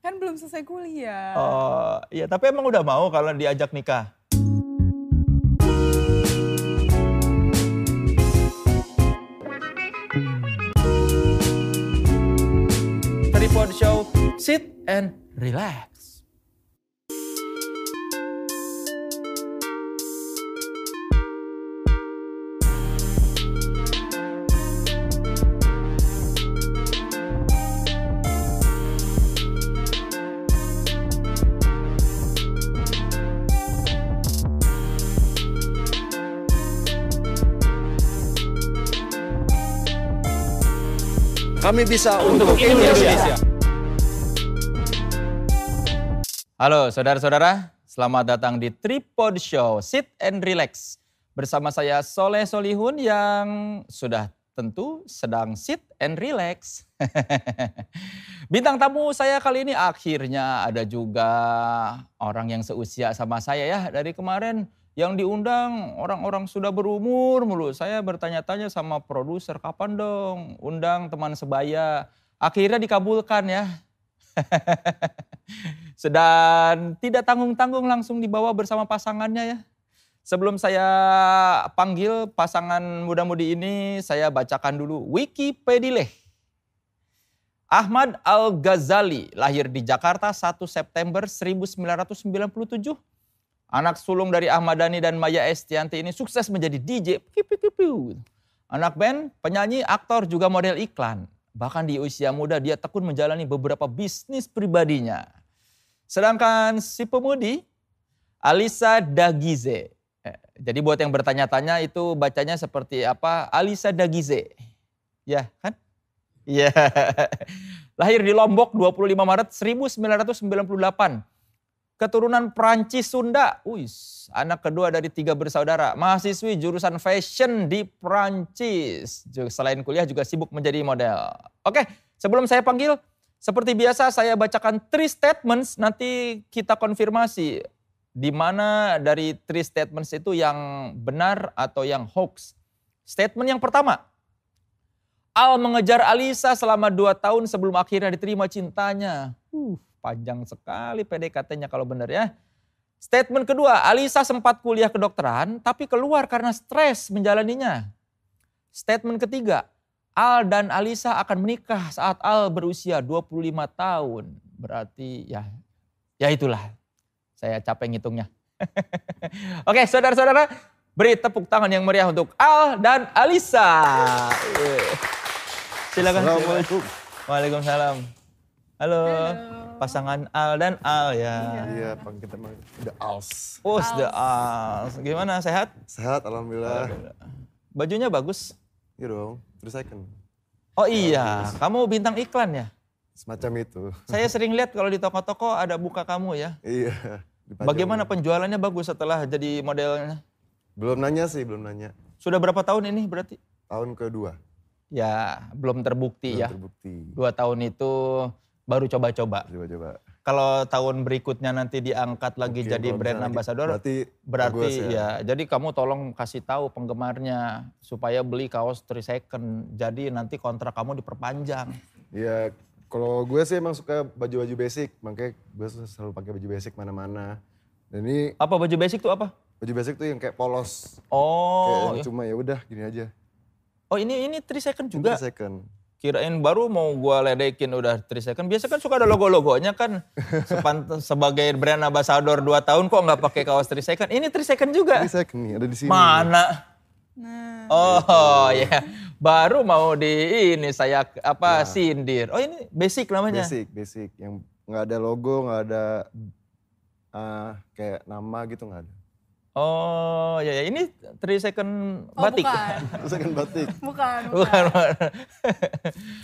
Kan belum selesai kuliah. Oh, iya tapi emang udah mau kalau diajak nikah. Tripod Show, sit and relax. Kami bisa untuk Indonesia. Halo saudara-saudara, selamat datang di Tripod Show Sit and Relax. Bersama saya Soleh Solihun yang sudah tentu sedang sit and relax. Bintang tamu saya kali ini akhirnya ada juga orang yang seusia sama saya ya dari kemarin yang diundang orang-orang sudah berumur mulu. Saya bertanya-tanya sama produser kapan dong undang teman sebaya. Akhirnya dikabulkan ya. Sedang tidak tanggung-tanggung langsung dibawa bersama pasangannya ya. Sebelum saya panggil pasangan muda-mudi ini, saya bacakan dulu Wikipedileh. Ahmad Al-Ghazali lahir di Jakarta 1 September 1997. Anak sulung dari Ahmad Dhani dan Maya Estianti ini sukses menjadi DJ. Piu, piu, piu, piu. Anak band, penyanyi, aktor, juga model iklan. Bahkan di usia muda dia tekun menjalani beberapa bisnis pribadinya. Sedangkan si pemudi Alisa Dagize. Eh, Jadi buat yang bertanya-tanya itu bacanya seperti apa? Alisa Dagize. Ya kan? Iya. Lahir di Lombok 25 Maret 1998. Keturunan Perancis Sunda. Uis, anak kedua dari tiga bersaudara. Mahasiswi jurusan fashion di Perancis. Ju- Selain kuliah juga sibuk menjadi model. Oke, sebelum saya panggil, seperti biasa saya bacakan three statements. Nanti kita konfirmasi di mana dari three statements itu yang benar atau yang hoax. Statement yang pertama, Al mengejar Alisa selama dua tahun sebelum akhirnya diterima cintanya. Uh, panjang sekali PDKT-nya kalau benar ya. Statement kedua, Alisa sempat kuliah kedokteran tapi keluar karena stres menjalaninya. Statement ketiga, Al dan Alisa akan menikah saat Al berusia 25 tahun. Berarti ya, ya itulah. Saya capek ngitungnya. Oke saudara-saudara, beri tepuk tangan yang meriah untuk Al dan Alisa. Yeay. Silakan. silakan. Assalamualaikum. Waalaikumsalam. Halo, pasangan Al dan Al ya. Iya, Bang, kita mah udah als. Us the Al. Gimana sehat? Sehat, alhamdulillah. Bajunya bagus. Iya dong, terus second. Oh iya, kamu bintang iklan ya. Semacam itu. Saya sering lihat kalau di toko-toko ada buka kamu ya. Iya. dipajang. Bagaimana penjualannya bagus setelah jadi modelnya? Belum nanya sih, belum nanya. Sudah berapa tahun ini berarti? Tahun kedua. Ya, belum terbukti belum ya. Terbukti. Dua tahun itu baru coba-coba. Coba-coba. Kalau tahun berikutnya nanti diangkat lagi Oke, jadi kalau brand misalnya lagi- ambassador, Berarti bagus Berarti ya. jadi kamu tolong kasih tahu penggemarnya supaya beli kaos 3 second. Jadi nanti kontrak kamu diperpanjang. Iya, kalau gue sih emang suka baju-baju basic, makanya gue selalu pakai baju basic mana-mana. Dan ini Apa baju basic tuh apa? baju basic tuh yang kayak polos. kayak Oh, yang cuma ya udah gini aja. oh ini ini 3 second Ini juga. second. Kirain baru mau gua ledekin udah 3 second. Biasa kan suka ada logo-logonya kan. Sepan- sebagai brand ambassador 2 tahun kok nggak pakai kaos 3 second. Ini 3 second juga. Ini second nih, ada di sini. Mana? Nah, Oh ya, baru mau di ini saya Ya. apa sindir. Oh ini basic namanya. Basic, basic. Yang nggak ada logo, nggak ada ah, kayak nama gitu nggak ada. Oh ya, ya. ini 3 second oh batik. bukan. Second batik. Bukan, bukan. Bukan, bukan.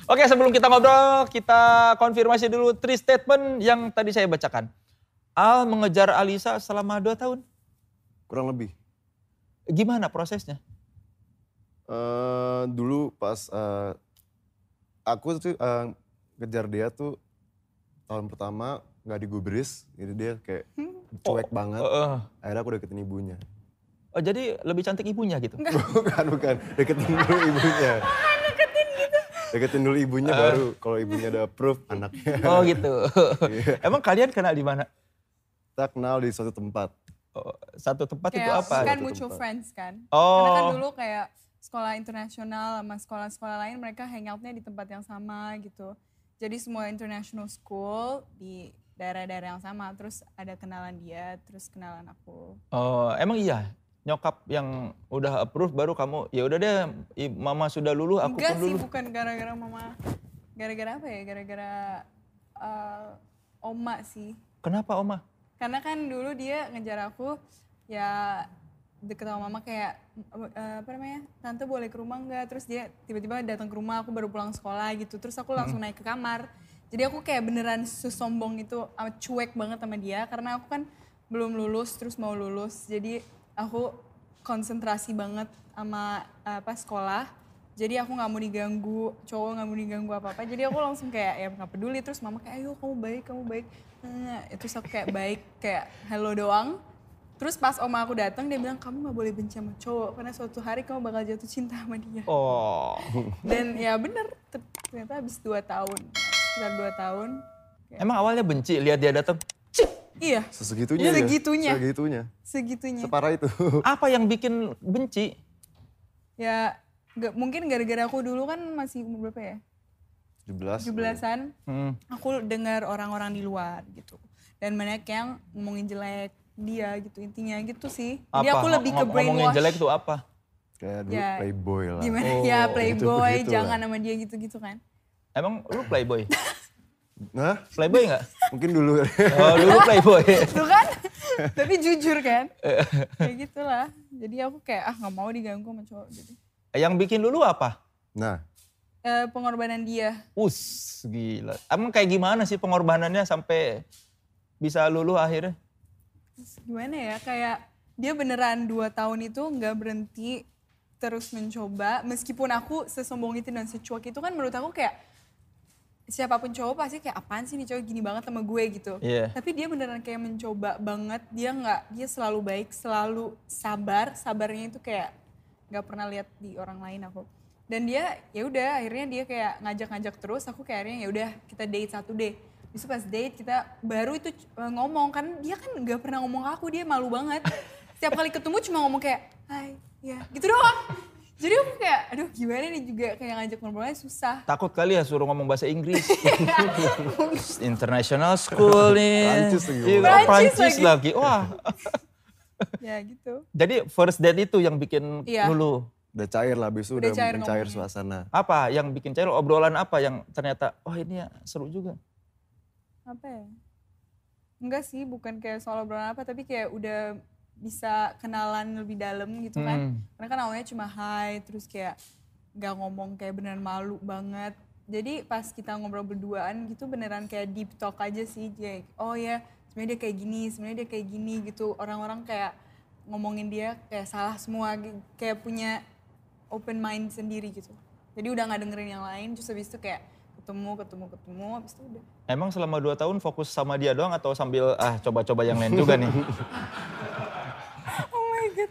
Oke sebelum kita ngobrol, kita konfirmasi dulu three statement yang tadi saya bacakan. Al mengejar Alisa selama 2 tahun. Kurang lebih. Gimana prosesnya? Eh, dulu pas eh, aku tuh eh, ngejar dia tuh tahun pertama nggak digubris, jadi dia kayak cuek banget. Heeh. Akhirnya aku deketin ibunya. Oh jadi lebih cantik ibunya gitu? bukan, bukan. Deketin dulu ibunya. Deketin dulu ibunya baru kalau ibunya udah approve anaknya. Oh gitu. Emang kalian kenal di mana? Kita kenal di suatu tempat. Oh, Satu tempat itu Kayak apa? kan Satu mutual tempat. friends kan. Karena kan Oh. dulu kayak sekolah internasional sama sekolah-sekolah lain mereka hangoutnya di tempat yang sama gitu. Jadi semua international school di daerah-daerah yang sama. Terus ada kenalan dia, terus kenalan aku. Oh, emang iya. Nyokap yang udah approve baru kamu ya udah deh i- mama sudah lulu aku Enggak pun sih, lulu. bukan gara-gara mama. Gara-gara apa ya? Gara-gara eh, oma sih. Kenapa Oma? Karena kan dulu dia ngejar aku, ya deket sama mama kayak eh, apa namanya tante boleh ke rumah nggak terus dia tiba-tiba datang ke rumah aku baru pulang sekolah gitu terus aku langsung naik ke kamar jadi aku kayak beneran sesombong itu ah, cuek banget sama dia karena aku kan belum lulus terus mau lulus jadi aku konsentrasi banget sama apa sekolah jadi aku nggak mau diganggu cowok nggak mau diganggu apa apa jadi aku langsung kayak ya nggak peduli terus mama kayak ayo kamu baik kamu baik Eh, terus aku kayak baik kayak hello doang terus pas oma aku datang dia bilang kamu nggak boleh benci sama cowok karena suatu hari kamu bakal jatuh cinta sama dia Oh. dan ya bener ter- ternyata habis dua tahun sekitar dua tahun kayak, Emang awalnya benci lihat dia datang. Cih, iya Sesegitunya. ya? Segitunya. Segitunya. segitunya Separah itu. apa yang bikin benci? ya nggak- mungkin gara-gara aku dulu kan masih umur berapa ya 17. 17-an Hmm. aku dengar orang-orang di luar gitu dan banyak yang ngomongin jelek dia gitu intinya gitu sih Apa? jadi aku lebih ke Ngom- ngomongin brainwash jelek tuh apa? Kayak dulu Ya. playboy lah. gimana Oh, ya gitu, playboy begitu jangan sama dia gitu-gitu kan Emang lu playboy? Nah, Playboy nggak? mungkin dulu. Oh, dulu playboy. itu kan tapi jujur kan Eh. kayak gitulah jadi aku kayak ah nggak mau diganggu sama cowok gitu yang bikin lulu apa? nah, Eh, pengorbanan dia Us, gila. Emang kayak gimana sih pengorbanannya sampai bisa lulu akhirnya? Terus gimana ya kayak dia beneran dua tahun itu nggak berhenti terus mencoba meskipun aku sesombong itu dan secuek itu kan menurut aku kayak siapapun cowok pasti kayak apaan sih nih cowok gini banget sama gue gitu Iya. tapi dia beneran kayak mencoba banget dia nggak dia selalu baik selalu sabar sabarnya itu kayak nggak pernah lihat di orang lain aku dan dia ya udah akhirnya dia kayak ngajak-ngajak terus aku kayak akhirnya ya udah kita date satu deh Habis itu pas date kita baru itu eh, ngomong kan dia kan nggak pernah ngomong ke aku dia malu banget setiap kali ketemu cuma ngomong kayak hai ya gitu doang jadi aku kayak aduh gimana nih juga kayak ngajak ngobrolnya susah Takut kali ya suruh ngomong bahasa Inggris. International school nih. Prancis lagi Iya, ngomong. Prancis Prancis lagi. Wah. ya gitu Jadi first date itu yang bikin Iya. lulu. udah cair lah. Abis itu Udah udah, cair mencair ngomongnya. suasana. Apa yang bikin cair? Obrolan apa yang ternyata, wah ini ya seru juga. apa ya? Enggak sih, bukan kayak soal obrolan apa, tapi kayak udah bisa kenalan lebih dalam gitu kan. Hmm. Karena kan awalnya cuma hai, terus kayak nggak ngomong kayak beneran malu banget. Jadi pas kita ngobrol berduaan gitu beneran kayak deep talk aja sih, kayak oh ya sebenarnya dia kayak gini, sebenarnya dia kayak gini gitu. Orang-orang kayak ngomongin dia kayak salah semua, gi- kayak punya open mind sendiri gitu. Jadi udah nggak dengerin yang lain, terus habis itu kayak ketemu, ketemu, ketemu, habis itu udah. Emang selama dua tahun fokus sama dia doang atau sambil ah coba-coba yang lain juga nih? Oh my god.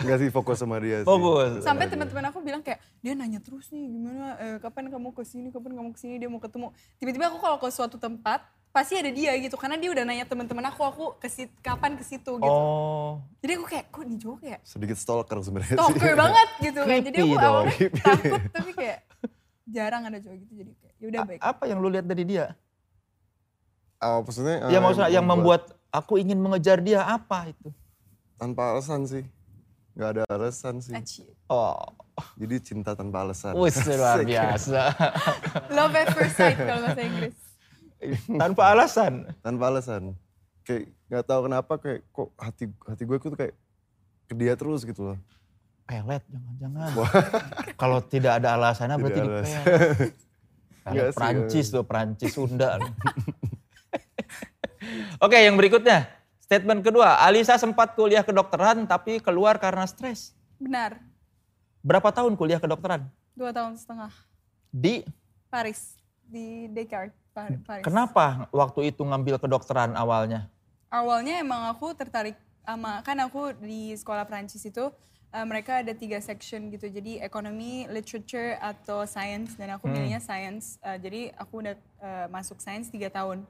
Enggak sih fokus sama dia sih. Fokus. Sampai teman-teman aku bilang kayak dia nanya terus nih gimana eh, kapan kamu ke sini, kapan kamu ke sini, dia mau ketemu. Tiba-tiba aku kalau ke suatu tempat pasti ada dia gitu karena dia udah nanya teman-teman aku aku ke sit- kapan ke situ gitu. Oh, Jadi aku kayak kok nih cowok kayak Sedikit stalker sebenarnya sih. stalker banget gitu kan. Jadi Creepy aku dong. awalnya takut tapi kayak jarang ada cowok gitu jadi kayak ya udah A- baik. apa yang lu lihat dari dia? Ah, maksudnya ya eh, maksudnya yang membuat aku ingin mengejar dia apa itu? tanpa alasan sih. Enggak ada alasan sih. Aci. Oh, Jadi cinta tanpa alasan. wih Oh, luar biasa. Love at first sight kalau bahasa Inggris. Tanpa alasan. tanpa alasan kayak nggak tahu kenapa kayak kok hati hati gue tuh kayak ke dia terus gitu loh Pelet jangan-jangan. Kalau tidak ada alasannya berarti Tidak dipelet. alasan. Nggak Pelet sih, Prancis tuh, Prancis Sunda. Oke, yang berikutnya. Statement kedua, Alisa sempat kuliah kedokteran tapi keluar karena stres. Benar. Berapa tahun kuliah kedokteran? Dua tahun setengah. Di Paris di Descartes Par- Paris. Kenapa waktu itu ngambil kedokteran awalnya? awalnya emang aku tertarik sama kan aku di sekolah Prancis itu eh, mereka ada tiga section gitu. Jadi ekonomi, literature atau science dan aku pilihnya science. Eh, jadi aku udah eh, masuk science tiga tahun.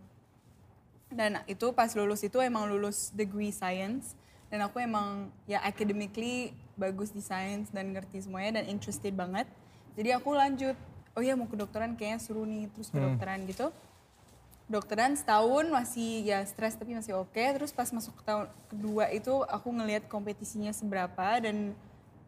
Dan itu pas lulus itu emang lulus degree science dan aku emang ya academically bagus di science dan ngerti semuanya dan interested banget. Jadi aku lanjut, oh ya mau kedokteran kayaknya seru nih terus kedokteran gitu. Dokteran setahun masih ya stres tapi masih oke. Terus pas masuk ke tahun kedua itu aku ngelihat kompetisinya seberapa dan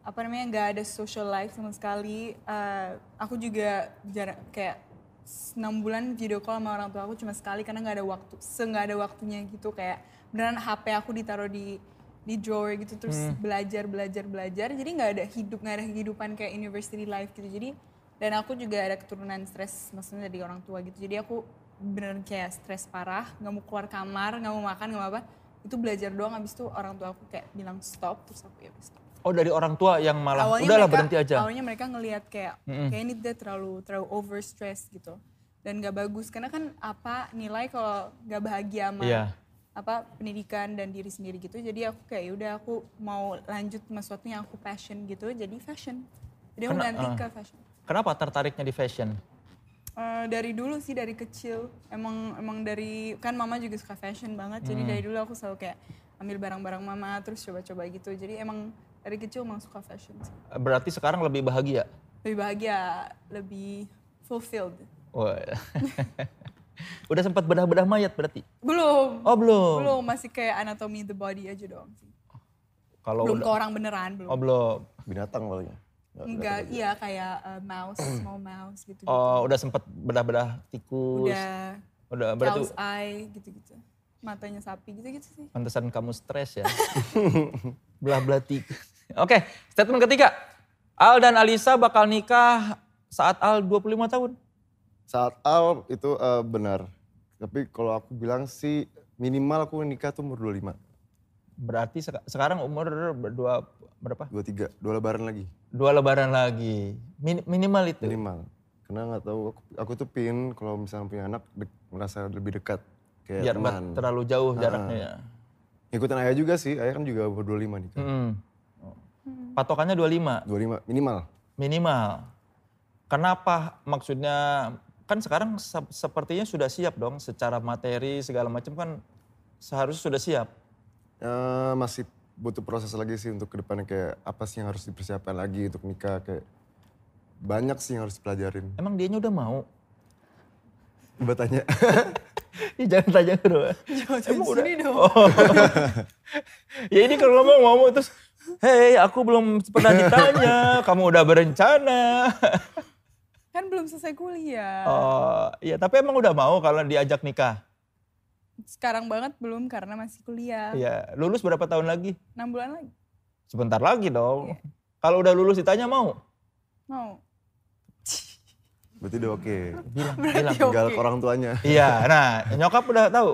apa namanya nggak ada social life sama sekali. Eh, aku juga jarang kayak 6 bulan video call sama orang tua aku cuma sekali karena nggak ada waktu, se nggak ada waktunya gitu kayak beneran HP aku ditaruh di di drawer gitu terus belajar belajar belajar jadi nggak ada hidup nggak ada kehidupan kayak university life gitu jadi dan aku juga ada keturunan stres maksudnya dari orang tua gitu jadi aku bener kayak stres parah nggak mau keluar kamar nggak mau makan nggak mau apa itu belajar doang abis itu orang tua aku kayak bilang stop terus aku ya stop Oh dari orang tua yang malah udahlah mereka- berhenti aja. Awalnya mereka ngelihat kayak kayak ini dia terlalu terlalu over stress gitu dan gak bagus karena kan apa nilai kalau gak bahagia sama Iya. apa pendidikan dan diri sendiri gitu. Jadi aku kayak udah aku mau lanjut sama sesuatu yang aku passion gitu jadi fashion. Jadi aku Kena- ganti ah. ke fashion. Kenapa tertariknya di fashion? Eh, dari dulu sih dari kecil emang emang dari kan mama juga suka fashion banget jadi dari dulu aku selalu kayak ambil barang-barang mama terus coba-coba gitu jadi emang dari kecil emang suka fashion sih. Berarti sekarang lebih bahagia. lebih bahagia, lebih fulfilled. Wah. Udah sempat bedah-bedah mayat berarti? Belum, Oh belum. belum masih kayak anatomy the body aja dong. Kalau belum udah, ke orang beneran belum. oh belum. Binatang palingnya. Enggak, iya kayak uh, mouse, small mouse gitu. gitu. Oh udah sempat bedah-bedah tikus. Udah Udah berarti cow's eye gitu-gitu. Matanya sapi gitu-gitu sih. pantesan kamu stres ya. Belah-belah tikus. Oke, statement ketiga. Al dan Alisa bakal nikah saat Al 25 tahun. Saat al itu eh, benar. Tapi kalau aku bilang sih minimal aku nikah tuh umur 25, Berarti seka- sekarang umur dua berapa? 23, dua lebaran lagi Dua lebaran lagi. Min- minimal itu. minimal. Karena nggak tahu aku, aku tuh pin kalau misalnya punya anak de- merasa lebih dekat kayak Biar nggak teman. terlalu jauh jaraknya. ya. Ikutin ayah juga sih, ayah kan juga umur 25 nikah. Mm. Patokannya 25 25 minimal. minimal. Kenapa? Maksudnya kan sekarang se- sepertinya sudah siap dong secara materi segala macam kan seharusnya sudah siap. Eh, masih butuh proses lagi sih untuk kedepannya kayak apa sih yang harus dipersiapkan lagi untuk nikah kayak banyak sih yang harus dipelajarin. Emang dianya udah mau? Coba tanya. Ih, jangan tanya bro. Jauh dari sini dong. Oh. ya ini kalau ngomong ngomong terus, hei aku belum pernah ditanya, kamu udah berencana. Kan belum selesai kuliah. Oh, ya tapi emang udah mau kalau diajak nikah. Sekarang banget belum karena masih kuliah. Ya, lulus berapa tahun lagi? 6 bulan lagi. Sebentar lagi dong. Kalau udah lulus ditanya mau? Mau. Berarti udah oke. Bilang, bilang. Berarti Tinggal oke. ke orang tuanya. Iya, nah nyokap udah tahu.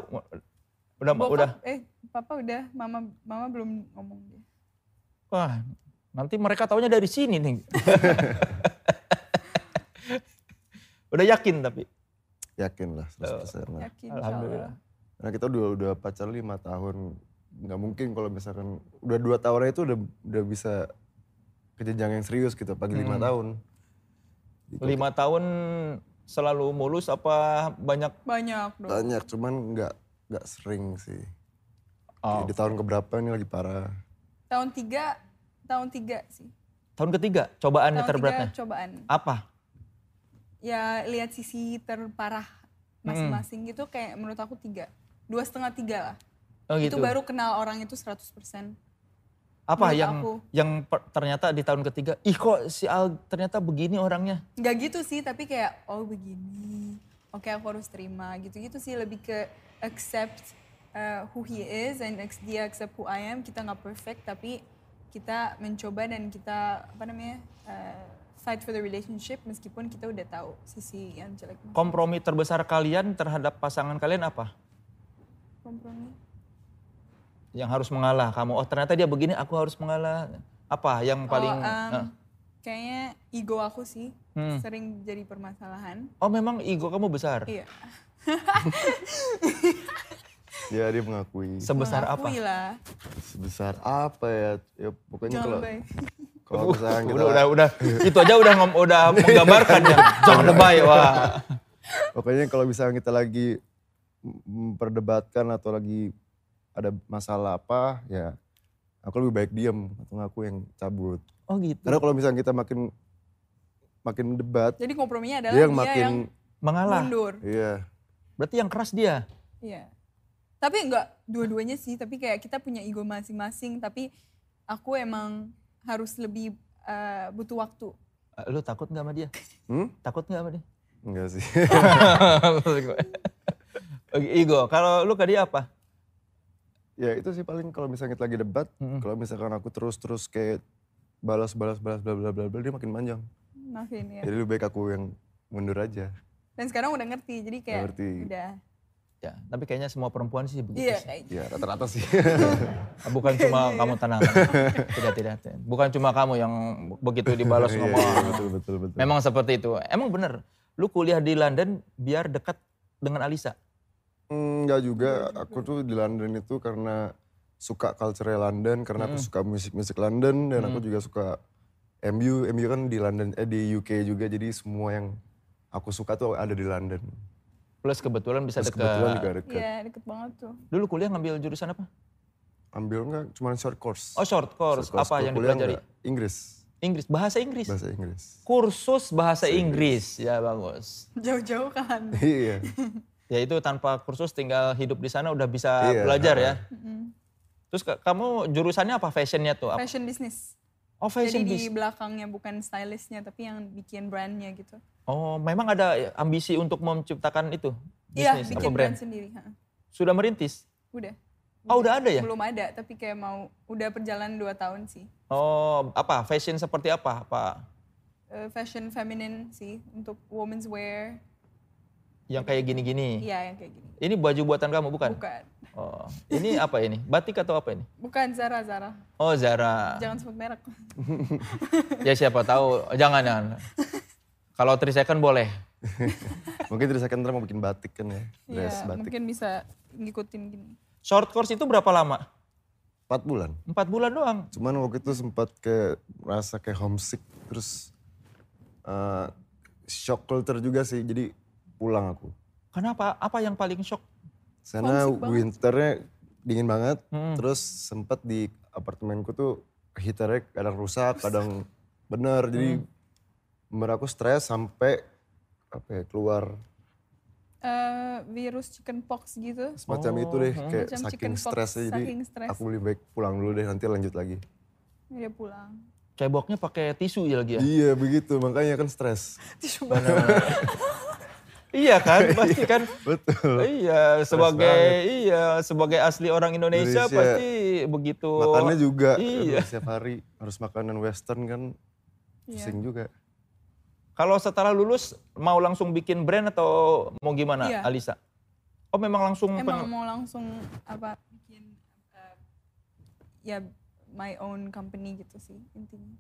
Udah Bokap, Ya, udah. eh papa udah, mama mama belum ngomong dia. Wah, nanti mereka taunya dari sini nih. udah yakin tapi. Yakin lah 100%. lah. Yakin insya Nah, Alhamdulillah. Allah. Karena kita udah udah pacar lima tahun. Nggak mungkin kalau misalkan udah dua tahun itu udah udah bisa ke jenjang yang serius gitu pagi lima tahun. Hmm. Lima tahun selalu mulus apa banyak? Banyak dong. Banyak cuman nggak nggak sering sih. Oh, Di tahun keberapa ini lagi parah. Tahun tiga, tahun tiga sih. tahun ketiga Tahun cobaannya Kan terberatnya. tiga cobaan. Apa? Ya lihat sisi terparah masing-masing gitu kayak menurut aku tiga. Dua setengah tiga lah. Oh gitu. Itu baru kenal orang itu 100%. apa menurut yang aku. yang per- ternyata di tahun ketiga, ih kok si Al ternyata begini orangnya. Nggak gitu sih tapi kayak oh begini. Oke aku harus terima gitu-gitu sih lebih ke accept uh, who he is and ex- dia accept who I am. Kita nggak perfect tapi kita mencoba dan kita apa namanya uh, fight for the relationship meskipun kita udah tahu sisi yang jelek Kompromi terbesar kalian terhadap pasangan kalian apa? kompromi. yang harus mengalah kamu oh ternyata dia begini aku harus mengalah apa yang paling Hmm. Oh, em, eh, kayaknya ego aku sih sering jadi permasalahan. oh memang ego kamu besar Iya. Ya dia mengakui sebesar apa Mengakui lah. sebesar apa ya. Ya pokoknya Jangan kalau lebay. Kalau misalnya kita, udah, udah, udah, itu aja udah ngom- udah menggambarkan ya. Jangan lebay, wah. pokoknya kalau misalnya kita lagi memperdebatkan atau lagi ada masalah apa, ya aku lebih baik diam atau aku yang cabut. Oh gitu. Karena kalau misalnya kita makin makin debat, Jadi komprominya adalah dia yang dia makin, yang Mengalah. mundur. iya. Berarti yang keras dia. Iya. Tapi enggak dua-duanya sih, tapi kayak kita punya ego masing-masing, tapi aku emang harus lebih eh, butuh waktu. Eh, Lu takut nggak sama dia? Hmm? Takut nggak sama dia? Enggak sih. Oke, Igo, Oh, kalau lu ke dia apa? ya itu sih paling kalau misalnya kita lagi debat, Mm-mm. kalau misalkan aku terus-terus kayak balas balas balas bla bla bla bla dia makin panjang. Maafin ya. Jadi lebih baik aku yang mundur aja. Dan sekarang udah ngerti, jadi kayak Ngerti. udah. Ya, tapi kayaknya semua perempuan sih begitu Iya, sih. Ah, kayak Ya rata-rata sih. Bukan Kayaknya cuma iya. kamu tenang. tidak, tidak, tidak. Bukan cuma kamu yang begitu dibalas Iya, ngomong. iya, betul betul betul. Memang seperti itu. Emang bener, lu kuliah di London biar dekat dengan Alisa. Enggak Hmm, juga, Iya, aku tuh di London itu karena suka culture London, karena Hmm. aku suka musik-musik London dan aku juga suka MU, MU kan di London eh di UK juga jadi semua yang aku suka tuh ada di London. Plus kebetulan bisa Terus kebetulan juga dekat. deket. Iya, deket banget tuh. Dulu kuliah ngambil jurusan apa? Ambil enggak cuma short course. Oh short course. Short course. apa Kalau yang kuliah dipelajari? enggak, Inggris, Inggris, bahasa Inggris. bahasa Inggris. Kursus bahasa Inggris. Ya bagus. Jauh-jauh kan. Iya. Ya itu tanpa kursus tinggal hidup di sana udah bisa Iya, belajar ya. Terus ke- kamu jurusannya apa fashionnya tuh? Apa? Fashion business. Oh fashion jadi di business. belakangnya bukan stylistnya, tapi yang bikin brandnya gitu. Oh memang ada ambisi untuk menciptakan itu Iya, bisnis apa bikin brand? brand sendiri. ha. Sudah merintis? Udah. Oh udah ada ya? Belum ada, tapi kayak mau udah perjalanan dua tahun sih. Oh apa fashion seperti apa? Apa Eh, fashion feminine sih untuk women's wear. yang kayak gini-gini? Iya, yang kayak gini. Ini baju buatan kamu bukan? Bukan. Oh ini apa ini? Batik atau apa ini? Bukan Zara, Zara. Oh Zara. Jangan sebut merek. Ya siapa tahu. Jangan jangan. Kalau 3 second boleh. Mungkin dari second mau bikin batik kan ya, dress Iya, batik. mungkin bisa ngikutin gini. Short course itu berapa lama? Empat bulan. Empat bulan doang. Cuman waktu itu sempat kayak merasa kayak homesick terus eh, shock culture juga sih. Jadi pulang aku. Kenapa? Apa yang paling shock? Sana winternya dingin banget. Hmm. Terus sempat di apartemenku tuh heaternya kadang rusak, kadang bener. Jadi Hmm. bener aku stres sampai apa ya, keluar Eh, virus chickenpox gitu. semacam itu deh kayak Macam saking chicken pox, stresnya saking jadi stres. aku lebih baik pulang dulu deh nanti lanjut lagi Dia pulang. Ceboknya pakai tisu ya lagi ya? iya begitu makanya kan stres Tisu basah. Iya kan, pasti kan. betul iya, sebagai banget. iya, sebagai asli orang Indonesia, Indonesia. pasti begitu. makannya juga Iya. aduh, setiap hari harus makanan western kan Iya. pusing juga Kalau setelah lulus mau langsung bikin brand atau mau gimana, Iya. Alisa? Oh, memang langsung Emang pengen- mau langsung apa bikin eh, ya my own company gitu sih intinya.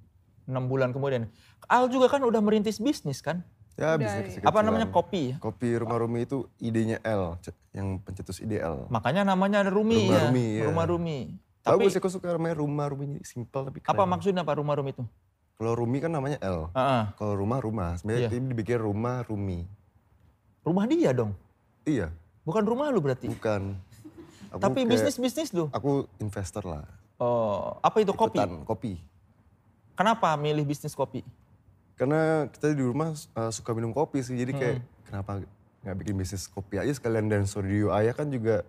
enam bulan kemudian. Al juga kan udah merintis bisnis kan? ya Udah, bisa iya. kecil kan. Apa namanya kopi ya? kopi rumah rumi itu idenya L ce- yang pencetus ide L Makanya namanya Rumi Rumah ya. Rumi, iya. Rumah Rumi. Tapi bagus aku suka namanya rumah rumi jadi simple tapi keren. apa maksudnya apa rumah Rumi itu? kalau rumi kan namanya L Heeh. kalau rumah rumah sebenarnya Iya. itu dibikin rumah rumi Rumah dia dong. iya Bukan rumah lu berarti. bukan Aku Tapi kayak- bisnis-bisnis lu. aku investor lah Oh, apa itu kopi? ikutan kopi Kenapa milih bisnis kopi? karena kita di rumah uh, suka minum kopi sih jadi kayak Hmm. kenapa nggak bikin bisnis kopi aja sekalian dan studio ayah kan juga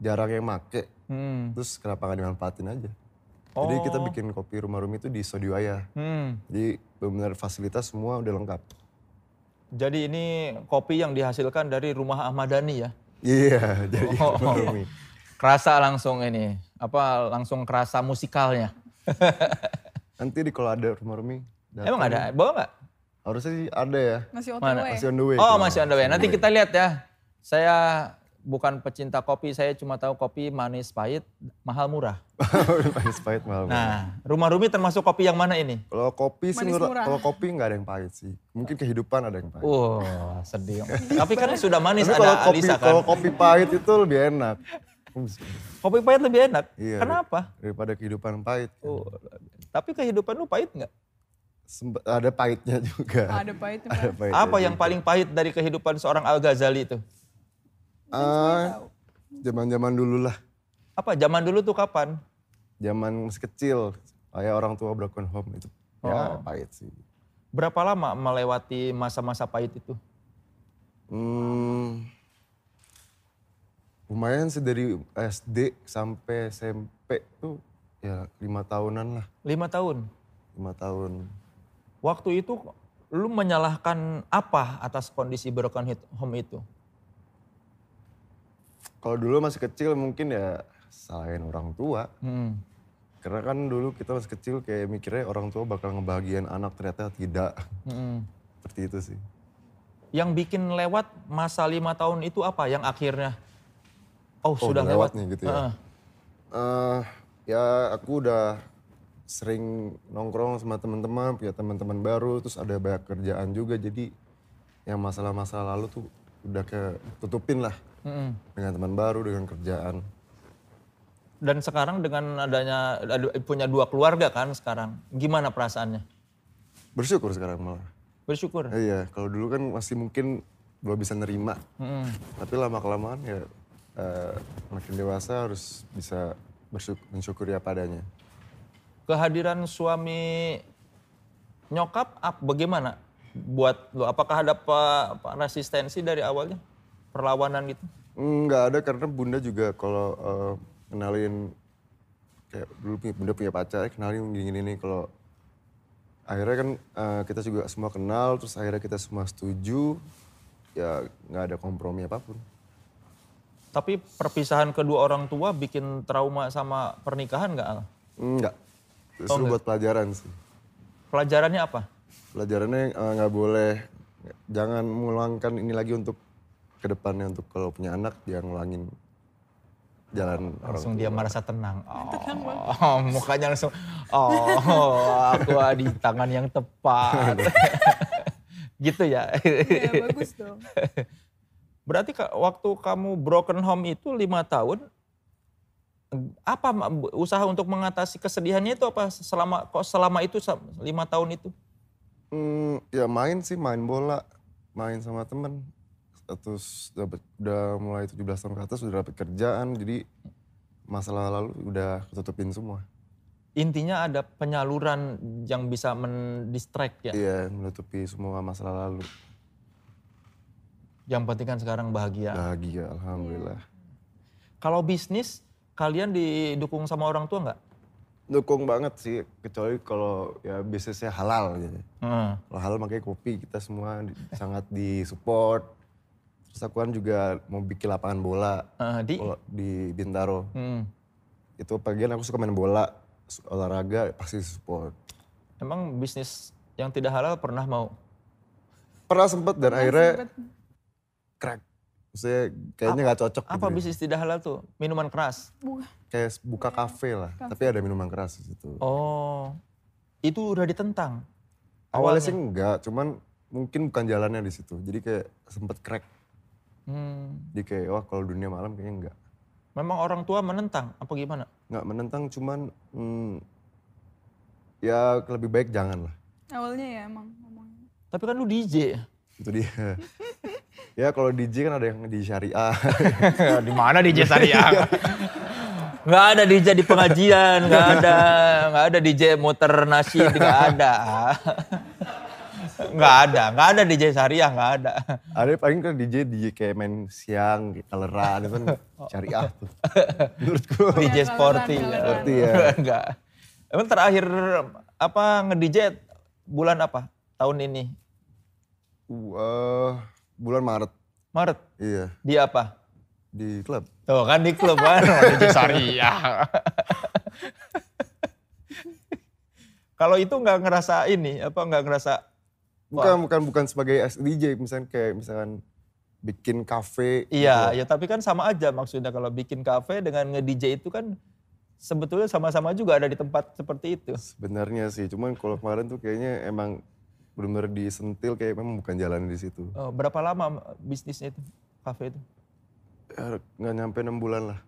jarang yang make Hmm. Oh. terus kenapa nggak dimanfaatin aja jadi kita bikin kopi rumah rumi itu di studio ayah Hmm. jadi benar-benar fasilitas semua udah lengkap Jadi ini kopi yang dihasilkan dari rumah Ahmad Dhani ya. iya jadi Oh. rumah rumi Kerasa langsung ini. Apa langsung kerasa musikalnya. nanti di kalau ada rumah rumi datang, Emang ada? Bawa nggak? harusnya sih ada ya Masih Mana? OTW. masih on the way Oh, kalau- masih on the way. Nanti kita lihat ya. Saya bukan pecinta kopi, saya cuma tahu kopi manis pahit, mahal murah. Manis pahit malam Nah, rumah Rumi termasuk kopi yang mana ini? kalau kopi sih Manis menurut- murah. kalau kopi nggak ada yang pahit sih mungkin kehidupan ada yang pahit Wah, sedih. Tapi kan sudah manis Tapi kalau ada kopi Alisa kan. kalau kopi pahit itu lebih enak Kopi pahit lebih enak. Iya. Kenapa? daripada kehidupan pahit. kan. Oh, Tapi kehidupan lu pahit nggak? Semp- ada pahitnya juga. Oh, ada pahitnya. Ada Pak. pahitnya Apa yang juga. paling pahit dari kehidupan seorang Al Ghazali itu? Eh, Zaman-zaman dulu lah, Apa zaman dulu tuh kapan? zaman masih kecil, kayak orang tua broken home itu. Ya Oh. pahit sih. Berapa lama melewati masa-masa pahit itu? Hmm, lumayan sih dari SD sampai SMP tuh ya lima tahunan lah, Lima tahun. lima tahun. Waktu itu lu menyalahkan apa atas kondisi broken hit- home itu? Kalau dulu masih kecil mungkin ya salahin orang tua. Hmm. Karena kan dulu kita masih kecil kayak mikirnya orang tua bakal ngebahagiain anak ternyata tidak. hmm. Seperti itu sih. Yang bikin lewat masa lima tahun itu apa? Yang akhirnya, oh, sudah udah lewat lewat. nih gitu ya. Heeh. Eh, ya aku udah sering nongkrong sama teman-teman, punya teman-teman baru, terus ada banyak kerjaan juga. Jadi yang masalah-masalah lalu tuh udah ketutupin lah Mm-mm. dengan teman baru, dengan kerjaan. Dan sekarang dengan adanya ada- punya dua keluarga kan sekarang, gimana perasaannya? Bersyukur sekarang malah. Bersyukur. Eh, Iya, kalau dulu kan masih mungkin belum bisa nerima. Mm-mm. Tapi lama kelamaan ya eh, makin dewasa harus bisa bersyukur, mensyukuri apa adanya. Kehadiran suami nyokap ap- bagaimana buat lo? Apakah ada apa- apa resistensi dari awalnya? Perlawanan gitu? Nggak ada karena bunda juga kalau eh, kenalin kayak dulu punya- bunda punya pacar, kenalin gini gini kalau akhirnya kan eh, kita juga semua kenal, terus akhirnya kita semua setuju, ya nggak ada kompromi apapun. Tapi perpisahan kedua orang tua bikin trauma sama pernikahan nggak? Al? Nggak, justru buat pelajaran sih. Pelajarannya apa? Pelajarannya eh, nggak boleh, jangan mengulangkan ini lagi untuk kedepannya untuk kalau punya anak jangan ngulangin jalan orang. Langsung dia merasa tenang. Oh, mukanya langsung, oh aku ada di tangan yang tepat. gitu ya. Ya, bagus dong. Berarti ka- waktu kamu broken home itu lima tahun, apa ma- usaha untuk mengatasi kesedihannya itu apa selama kok selama itu sa- lima tahun itu? Hmm, ya main sih, main bola, main sama temen. Terus dapet, udah mulai 17 tahun ke atas udah dapet kerjaan, jadi masalah lalu udah ketutupin semua. Intinya ada penyaluran yang bisa mendistract ya. Iya, menutupi semua masalah lalu. Yang penting kan sekarang bahagia. Bahagia, alhamdulillah. Kalau bisnis, kalian didukung sama orang tua nggak? Dukung banget sih, kecuali kalau ya bisnisnya halal gitu. Heeh. Kalau halal makanya kopi kita semua di- sangat disupport. Terus aku kan juga mau bikin lapangan bola, Heeh, Eh, di, bola di Bintaro. Hmm. itu bagian aku suka main bola su- olahraga pasti support emang bisnis yang tidak halal pernah mau? pernah sempet dan akhirnya crack maksudnya kayaknya nggak cocok Apa gitu. bisnis tidak halal tuh? Minuman keras. kayak buka kafe lah tapi ada minuman keras di situ Oh, itu udah ditentang. awalnya sih enggak cuman mungkin bukan jalannya di situ jadi kayak sempet crack Hmm. jadi kayak wah kalau dunia malam kayaknya enggak Memang orang tua menentang apa gimana? nggak menentang cuman hmm, ya lebih baik jangan lah Awalnya ya emang ngomongnya. Tapi kan lu DJ. itu dia ya kalau DJ kan ada yang di syariah di mana DJ Sariang? Gak Iya. ada DJ di pengajian, gak ada, gak ada DJ muter nasi, gak ada. Gak ada, gak ada DJ Sariang, gak ada. Ada paling kan DJ DJ kayak main siang, kayak kaleran, itu kan syariah tuh. Menurut gue. DJ kaleran, sporty. kaleran. Sporty ya. Iya. Enggak. Emang terakhir apa nge-DJ bulan apa? Tahun ini? Uh, bulan Maret, Maret? iya Di apa? di klub. Tuh kan di klub kan, DJ Sariang. Kalau itu nggak ngerasa ini, apa nggak ngerasa Bukan bukan bukan sebagai as- DJ, misalkan kayak misalkan bikin kafe. gitu. Iya, ya tapi kan sama aja maksudnya kalau bikin kafe dengan nge-DJ itu kan sebetulnya sama-sama juga ada di tempat seperti itu. Sebenarnya sih, cuman kalau kemarin tuh kayaknya emang benar-benar disentil kayak memang bukan jalan di situ. Eh, Berapa lama bisnisnya itu, kafe itu? Ya, Nggak nyampe Eh, enam bulan lah.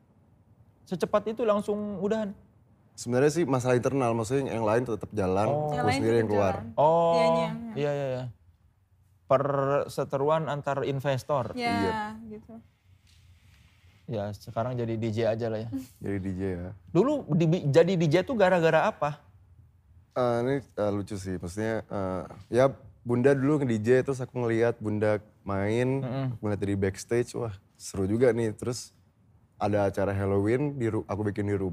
Secepat itu langsung udahan. sebenarnya sih masalah internal maksudnya yang- yang lain tetap jalan Oh. aku Yang lain sendiri yang tetap keluar jalan. Oh, Dianya yang- iya iya iya. Perseteruan antar Oh, investor. iya. Ya, gitu. Ya, sekarang jadi DJ aja lah ya. jadi DJ ya Dulu di- jadi DJ tuh gara-gara apa? Eh, ini eh, lucu sih maksudnya eh, ya bunda dulu nge DJ terus aku ngeliat bunda main aku ngeliat dari backstage wah seru juga nih terus ada acara Halloween di ru- aku bikin di rumah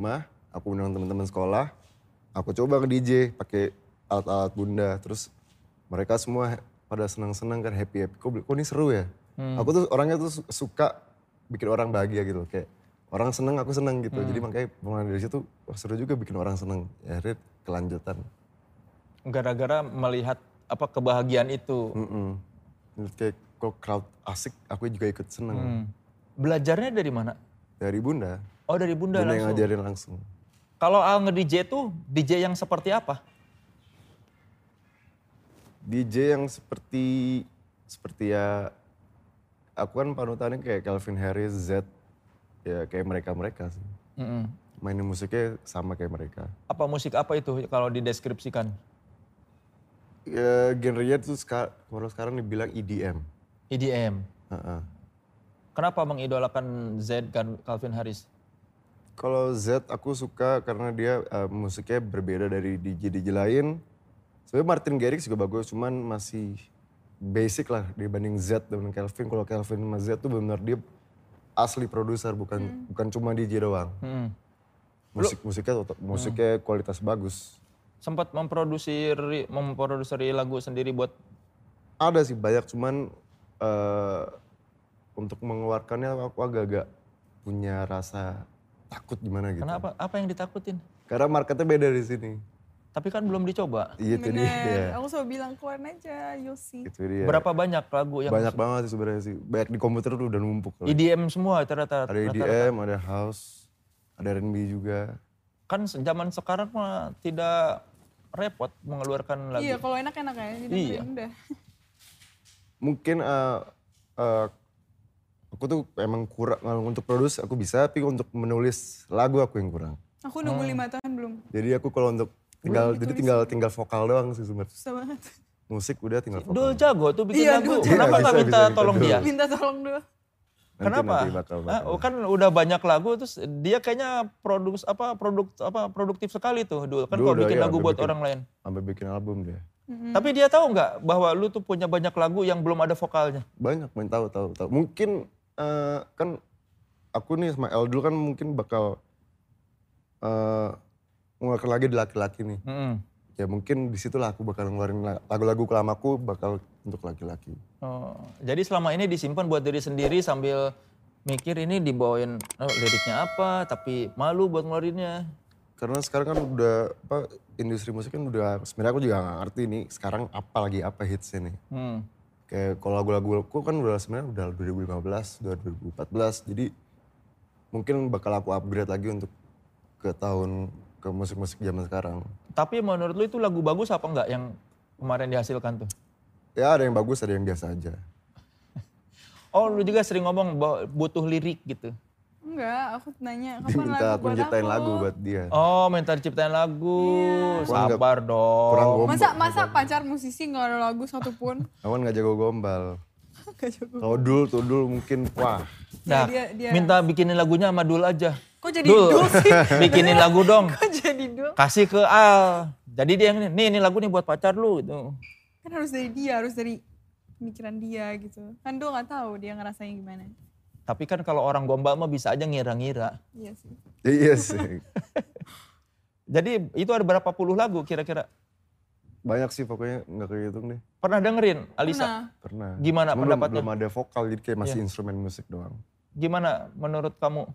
aku undang teman-teman sekolah aku coba nge DJ pakai alat-alat bunda terus mereka semua pada senang-senang kan happy happy kok, kok ini seru ya Hmm. aku tuh orangnya tuh su- suka bikin orang bahagia gitu kayak orang seneng aku seneng gitu Hmm. jadi makanya mulai dari situ wah seru juga bikin orang seneng ya akhirnya kelanjutan Gara-gara melihat apa kebahagiaan itu. Mm-mm. Menurut kayak kalau crowd asik aku juga ikut seneng Hmm. Belajarnya dari mana? dari bunda Oh, dari Bunda bunda yang langsung. ngajarin langsung Kalau Al nge-DJ tuh DJ yang seperti apa? DJ yang seperti seperti ya aku kan panutannya kayak Calvin Harris Z ya kayak mereka mereka sih Mm-mm. mainin musiknya sama kayak mereka Apa musik apa itu kalau dideskripsikan? ya genrenya tuh seka- kalau sekarang dibilang EDM EDM. Heeh. E Kenapa mengidolakan Z Cal- Calvin Harris? Kalau Z aku suka karena dia eh, musiknya berbeda dari DJ DJ lain. Sebenarnya Martin Garrix juga bagus, cuman masih basic lah dibanding Z dengan Calvin. Kalau Calvin sama Z tuh benar dia asli produser bukan bukan cuma DJ doang. Mm. Musik musiknya tot- musiknya kualitas bagus. Sempat memproduksi memproduksi lagu sendiri buat Ada sih banyak cuman eh, untuk mengeluarkannya aku agak-agak punya rasa takut gimana gitu. Kenapa? Apa yang ditakutin? Karena marketnya beda di sini. Tapi kan belum dicoba. Iya itu dia. Bener. Aku selalu bilang keluarin aja, you'll Oh. see. Itu dia. Berapa banyak lagu yang Iya. banyak banget sih sebenarnya sih. Banyak di komputer tuh udah numpuk. loh. EDM semua rata-rata. Ada E EDM, ada house, ada R&B juga. Kan se- zaman sekarang mah tidak repot mengeluarkan lagu. Iya, kalau enak enak ya. Jadi Iya. udah. Mungkin eh, eh, aku tuh emang kurang kalau untuk produce aku bisa, tapi untuk menulis lagu aku yang kurang. Aku nunggu Hmm. lima tahun belum. Jadi aku kalau untuk tinggal jadi tinggal ya? tinggal vokal doang sih sebenarnya. Susah banget. Musik udah tinggal vokal. Dul jago tuh bikin Iya, lagu. Dul jago. Kenapa Iya, nggak bisa, minta bisa, bisa, tolong Dul. dia? Minta tolong dulu. Nanti- Kenapa? nanti bakal, Hah? bakal. kan udah banyak lagu terus dia kayaknya produks apa produk apa produktif sekali tuh Dul. Kan Dul kalau udah, bikin iya, lagu udah buat bikin. orang lain. Sampai bikin album dia. Tapi dia tahu nggak bahwa lu tuh punya banyak lagu yang belum ada vokalnya? Banyak main tahu tahu tahu. Mungkin eh, kan aku nih sama El dulu kan mungkin bakal eh ngeluarkan lagi di laki-laki nih. Mm-mm. Ya mungkin disitulah aku bakal ngeluarin la- lagu-lagu kelamaku bakal untuk laki-laki. Oh, jadi selama ini disimpan buat diri sendiri sambil mikir ini dibawain oh, liriknya apa, tapi malu buat ngeluarinnya. Karena sekarang kan udah apa industri musik kan udah sebenarnya aku juga gak ngerti nih sekarang apa lagi apa hitsnya nih. Hmm. Kayak kalau lagu-lagu aku kan udah sebenarnya udah 2015, udah 2014. Jadi mungkin bakal aku upgrade lagi untuk ke tahun ke musik-musik zaman sekarang. Tapi menurut lu itu lagu bagus apa enggak yang kemarin dihasilkan tuh? Ya ada yang bagus, ada yang biasa aja. Oh, lu juga sering ngomong bahwa butuh lirik gitu. Enggak, aku nanya Dia kapan lagu minta aku buat nyiptain aku. lagu buat dia. Oh, minta diciptain lagu. Iya. Kurang nggak- Sabar dong. Kurang gombal. Masa masa pacar musisi nggak ada lagu satupun? Aku kan gak jago gombal. Gak jago. Kalau dul tuh dul mungkin wah. Nah, dia- dia- minta bikinin lagunya sama Dul aja. Kok jadi dul sih? bikinin lagu dong. Kok jadi dul? Kasih ke Al. Jadi dia yang ini, nih ini lagu nih buat pacar lu gitu. Kan harus dari dia, harus dari pemikiran dia gitu. Kan dul nggak tahu dia ngerasain gimana. Tapi kan kalau orang gombal mah bisa aja ngira-ngira. Iya sih. Iya sih. Jadi itu ada berapa puluh lagu kira-kira? Banyak sih pokoknya nggak kehitung deh. Pernah dengerin Alisa? Nah, Pernah. Gimana Cuma belum, pendapatnya? Iya. belum ada vokal jadi kayak masih instrumen musik doang. Gimana menurut kamu?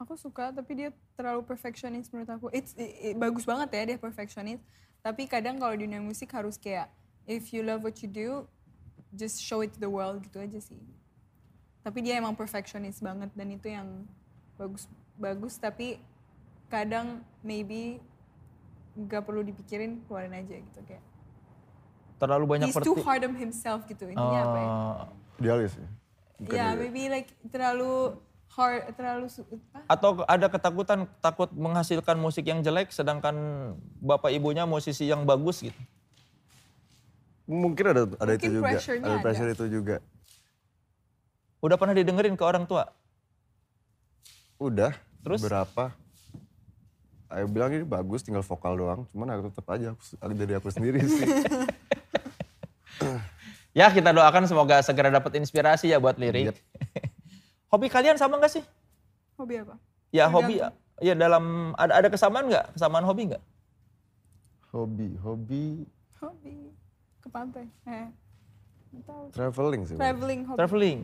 aku suka tapi dia terlalu perfectionist menurut aku. It's i- i- bagus banget ya dia perfectionist. Tapi kadang kalau di dunia musik harus kayak if you love what you do, just show it to the world gitu aja sih. Tapi dia emang perfectionist banget dan itu yang bagus bagus tapi kadang maybe nggak perlu dipikirin keluarin aja gitu kayak. Terlalu banyak He's too perti... hard on himself gitu intinya apa ya? Oh, Iya. Idealis ya. Ya, maybe like terlalu hard terlalu su- ah, apa? Atau ada ketakutan takut menghasilkan musik yang jelek sedangkan bapak ibunya musisi yang bagus gitu? Mungkin ada ada Mungkin itu juga. pressure-nya Ada ada. pressure itu juga. Udah pernah didengerin ke orang tua? Udah. Terus? Berapa? Ayo bilang ini bagus tinggal vokal doang. Cuman aku tetap aja aku, aku- dari aku sendiri sih. Ya kita doakan semoga segera dapat inspirasi ya buat lirik. Yep. hobi kalian sama nggak sih? hobi apa? Ya hobi ya dalam ada ada kesamaan nggak? Kesamaan hobi nggak? hobi, hobi Hobi ke pantai. Eh. nggak tahu. traveling sih. Bang. Traveling hobi. Traveling.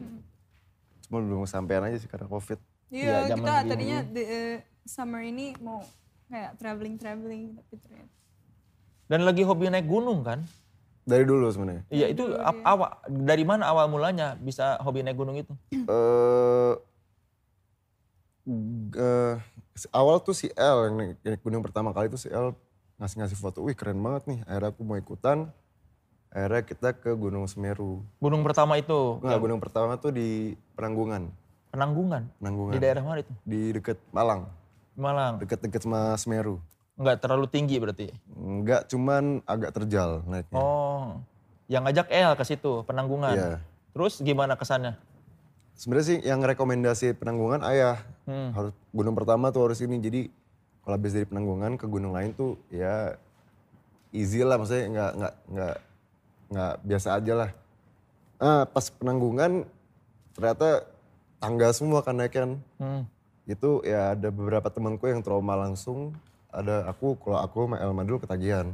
Cuma belum kesampaian aja sih karena covid. Iya, Iya, zaman kita dulu. tadinya di- eh, summer ini mau kayak traveling traveling tapi ternyata Dan lagi hobi naik gunung kan? Dari dulu sebenarnya. Iya itu ap- awal dari mana awal mulanya bisa hobi naik gunung itu? eh g- eh, si- awal tuh si L yang naik- naik gunung pertama kali tuh si L ngasih-ngasih foto, wih keren banget nih. Akhirnya aku mau ikutan, akhirnya kita ke Gunung Semeru. Gunung pertama itu Nah, gunung pertama tuh di Penanggungan, Penanggungan Penanggungan. di daerah mana itu? Di deket Malang, Malang. deket-deket sama Semeru. Nggak terlalu tinggi berarti. Enggak, cuman agak terjal naiknya. Oh, kan? yang ngajak El ke situ Penanggungan. Iya. Terus gimana kesannya? Sebenarnya sih yang rekomendasi Penanggungan ayah. Hmm. Harus gunung pertama tuh harus ini. Jadi kalau habis dari Penanggungan ke gunung lain tuh ya easy lah maksudnya nggak nggak nggak nggak biasa aja lah. Ah, pas Penanggungan ternyata tangga semua kan naik kan. Hmm. Itu ya ada beberapa temanku yang trauma langsung. Ada aku kalau aku sama Elma dulu ketagihan.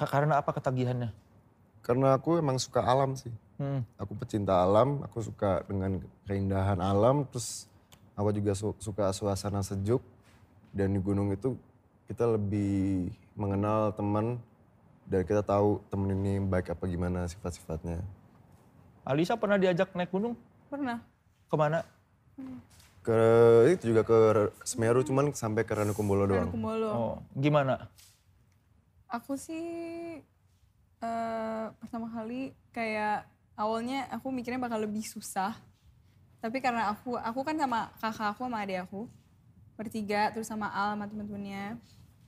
Ka- Karena apa ketagihannya? Karena aku emang suka alam sih. Hmm. aku pecinta alam, aku suka dengan keindahan alam, terus aku juga su- suka suasana sejuk. Dan di gunung itu kita lebih mengenal teman dan kita tahu temen ini baik apa gimana sifat-sifatnya. Alisa pernah diajak naik gunung? pernah Kemana? Ke itu juga ke Semeru cuman sampai ke Ranukumbolo Ranu doang. Kumbolo. Oh, gimana? Aku sih eh pertama kali kayak awalnya aku mikirnya bakal lebih susah. Tapi karena aku aku kan sama kakak aku sama adik aku bertiga terus sama Al sama temen-temennya.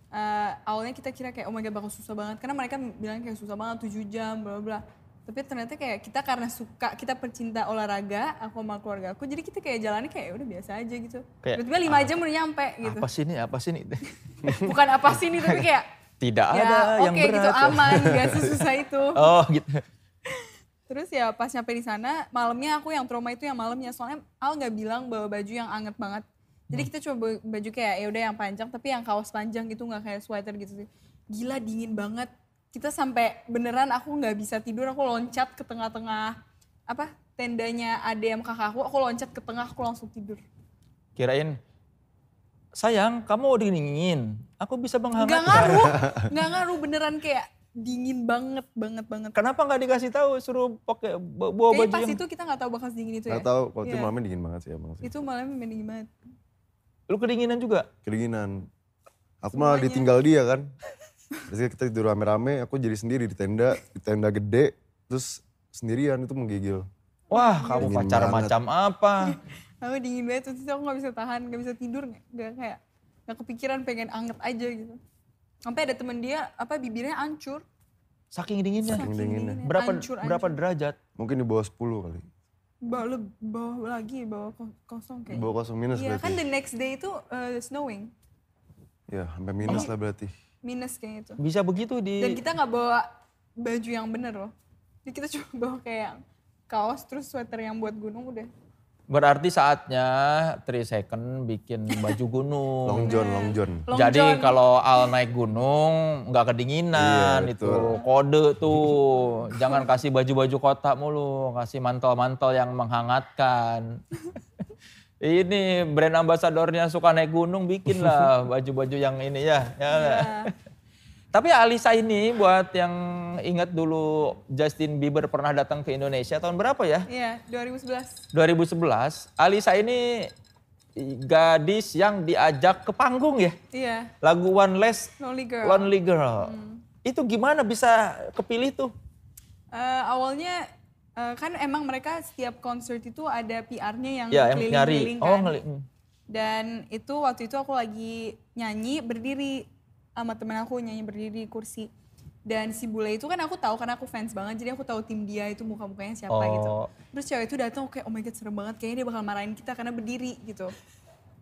Eh, awalnya kita kira kayak oh my god bakal susah banget karena mereka bilang kayak susah banget 7 jam bla bla. bla. Tapi ternyata kayak kita karena suka kita percinta olahraga aku sama keluarga aku jadi kita kayak jalannya kayak "Ya udah biasa aja gitu. Kayak, ah, Tiba-tiba 5 jam udah nyampe gitu. Apa sih ini? Apa sih ini? Bukan apa sih ini tapi kayak Tidak ya ada yang oke berat. gitu aman gak susah itu Oh, gitu. terus ya pas nyampe di sana malamnya aku yang trauma itu yang malamnya soalnya Al nggak bilang bawa baju yang anget banget jadi Hmm. kita coba baju kayak ya udah yang panjang tapi yang kaos panjang gitu nggak kayak sweater gitu sih gila dingin banget kita sampai beneran aku nggak bisa tidur aku loncat ke tengah-tengah apa tendanya ADM kakak aku aku loncat ke tengah aku langsung tidur Kirain sayang, kamu dingin. Aku bisa nggak menghangatkan. ngaruh nggak ngaruh beneran kayak dingin banget banget banget Kenapa nggak dikasih tahu suruh pakai bawa bawa Kayaknya baju pas yang... itu kita nggak tahu bakal sedingin itu ya Nggak tahu kalau itu Iya. malamnya dingin banget sih emang Gitu. sih. itu malam mending banget Lu kedinginan juga? Kedinginan. Aku malah Semuanya. ditinggal dia kan. Terus kita tidur rame-rame, aku jadi sendiri di tenda, di tenda gede, terus sendirian itu menggigil. Wah, kamu Dingin pacar banget. macam apa? aku dingin banget terus itu aku nggak bisa tahan nggak bisa tidur nggak nggak kayak nggak kepikiran pengen anget aja gitu sampai ada temen dia apa bibirnya hancur Saking Ya, dinginnya. Saking dinginnya. Berapa hancur, berapa hancur. derajat? Mungkin di bawah 10 kali. bawah leb- bawah lagi bawah ko- kosong Di kayak bawah kosong minus iya berarti. kan the next day itu uh, snowing Ya, sampai minus Oh. lah berarti. minus kayak gitu Bisa begitu di dan kita nggak bawa baju yang bener loh jadi kita cuma bawa kayak kaos terus sweater yang buat gunung udah Berarti saatnya 3 second bikin baju Oh, gunung. Long John, Long John. Long Jadi john. kalau Al naik gunung nggak kedinginan Iya, itu betul. kode tuh. Jangan kasih baju-baju kota mulu, kasih mantel-mantel yang menghangatkan. ini brand ambasadornya suka naik gunung bikinlah baju-baju yang ini ya. Iya. ya. Tapi Alisa ini buat yang ingat dulu Justin Bieber pernah datang ke Indonesia tahun berapa ya? iya 2011 2011. Alisa ini gadis yang diajak ke panggung ya iya lagu One Less Lonely Girl Hmm. Lonely Girl. Itu gimana bisa kepilih tuh? Eh, awalnya eh, kan emang mereka setiap konser itu ada PR-nya yang Ya, yang nyari. keliling-keliling Oh, kan. ngeli. hmm. Dan itu waktu itu aku lagi nyanyi berdiri sama temen aku nyanyi berdiri di kursi. Dan si Bule itu kan aku tahu karena aku fans banget jadi aku tahu tim dia itu muka-mukanya siapa gitu. Oh. Terus cewek itu datang aku kayak oh my god serem banget kayaknya dia bakal marahin kita karena berdiri gitu.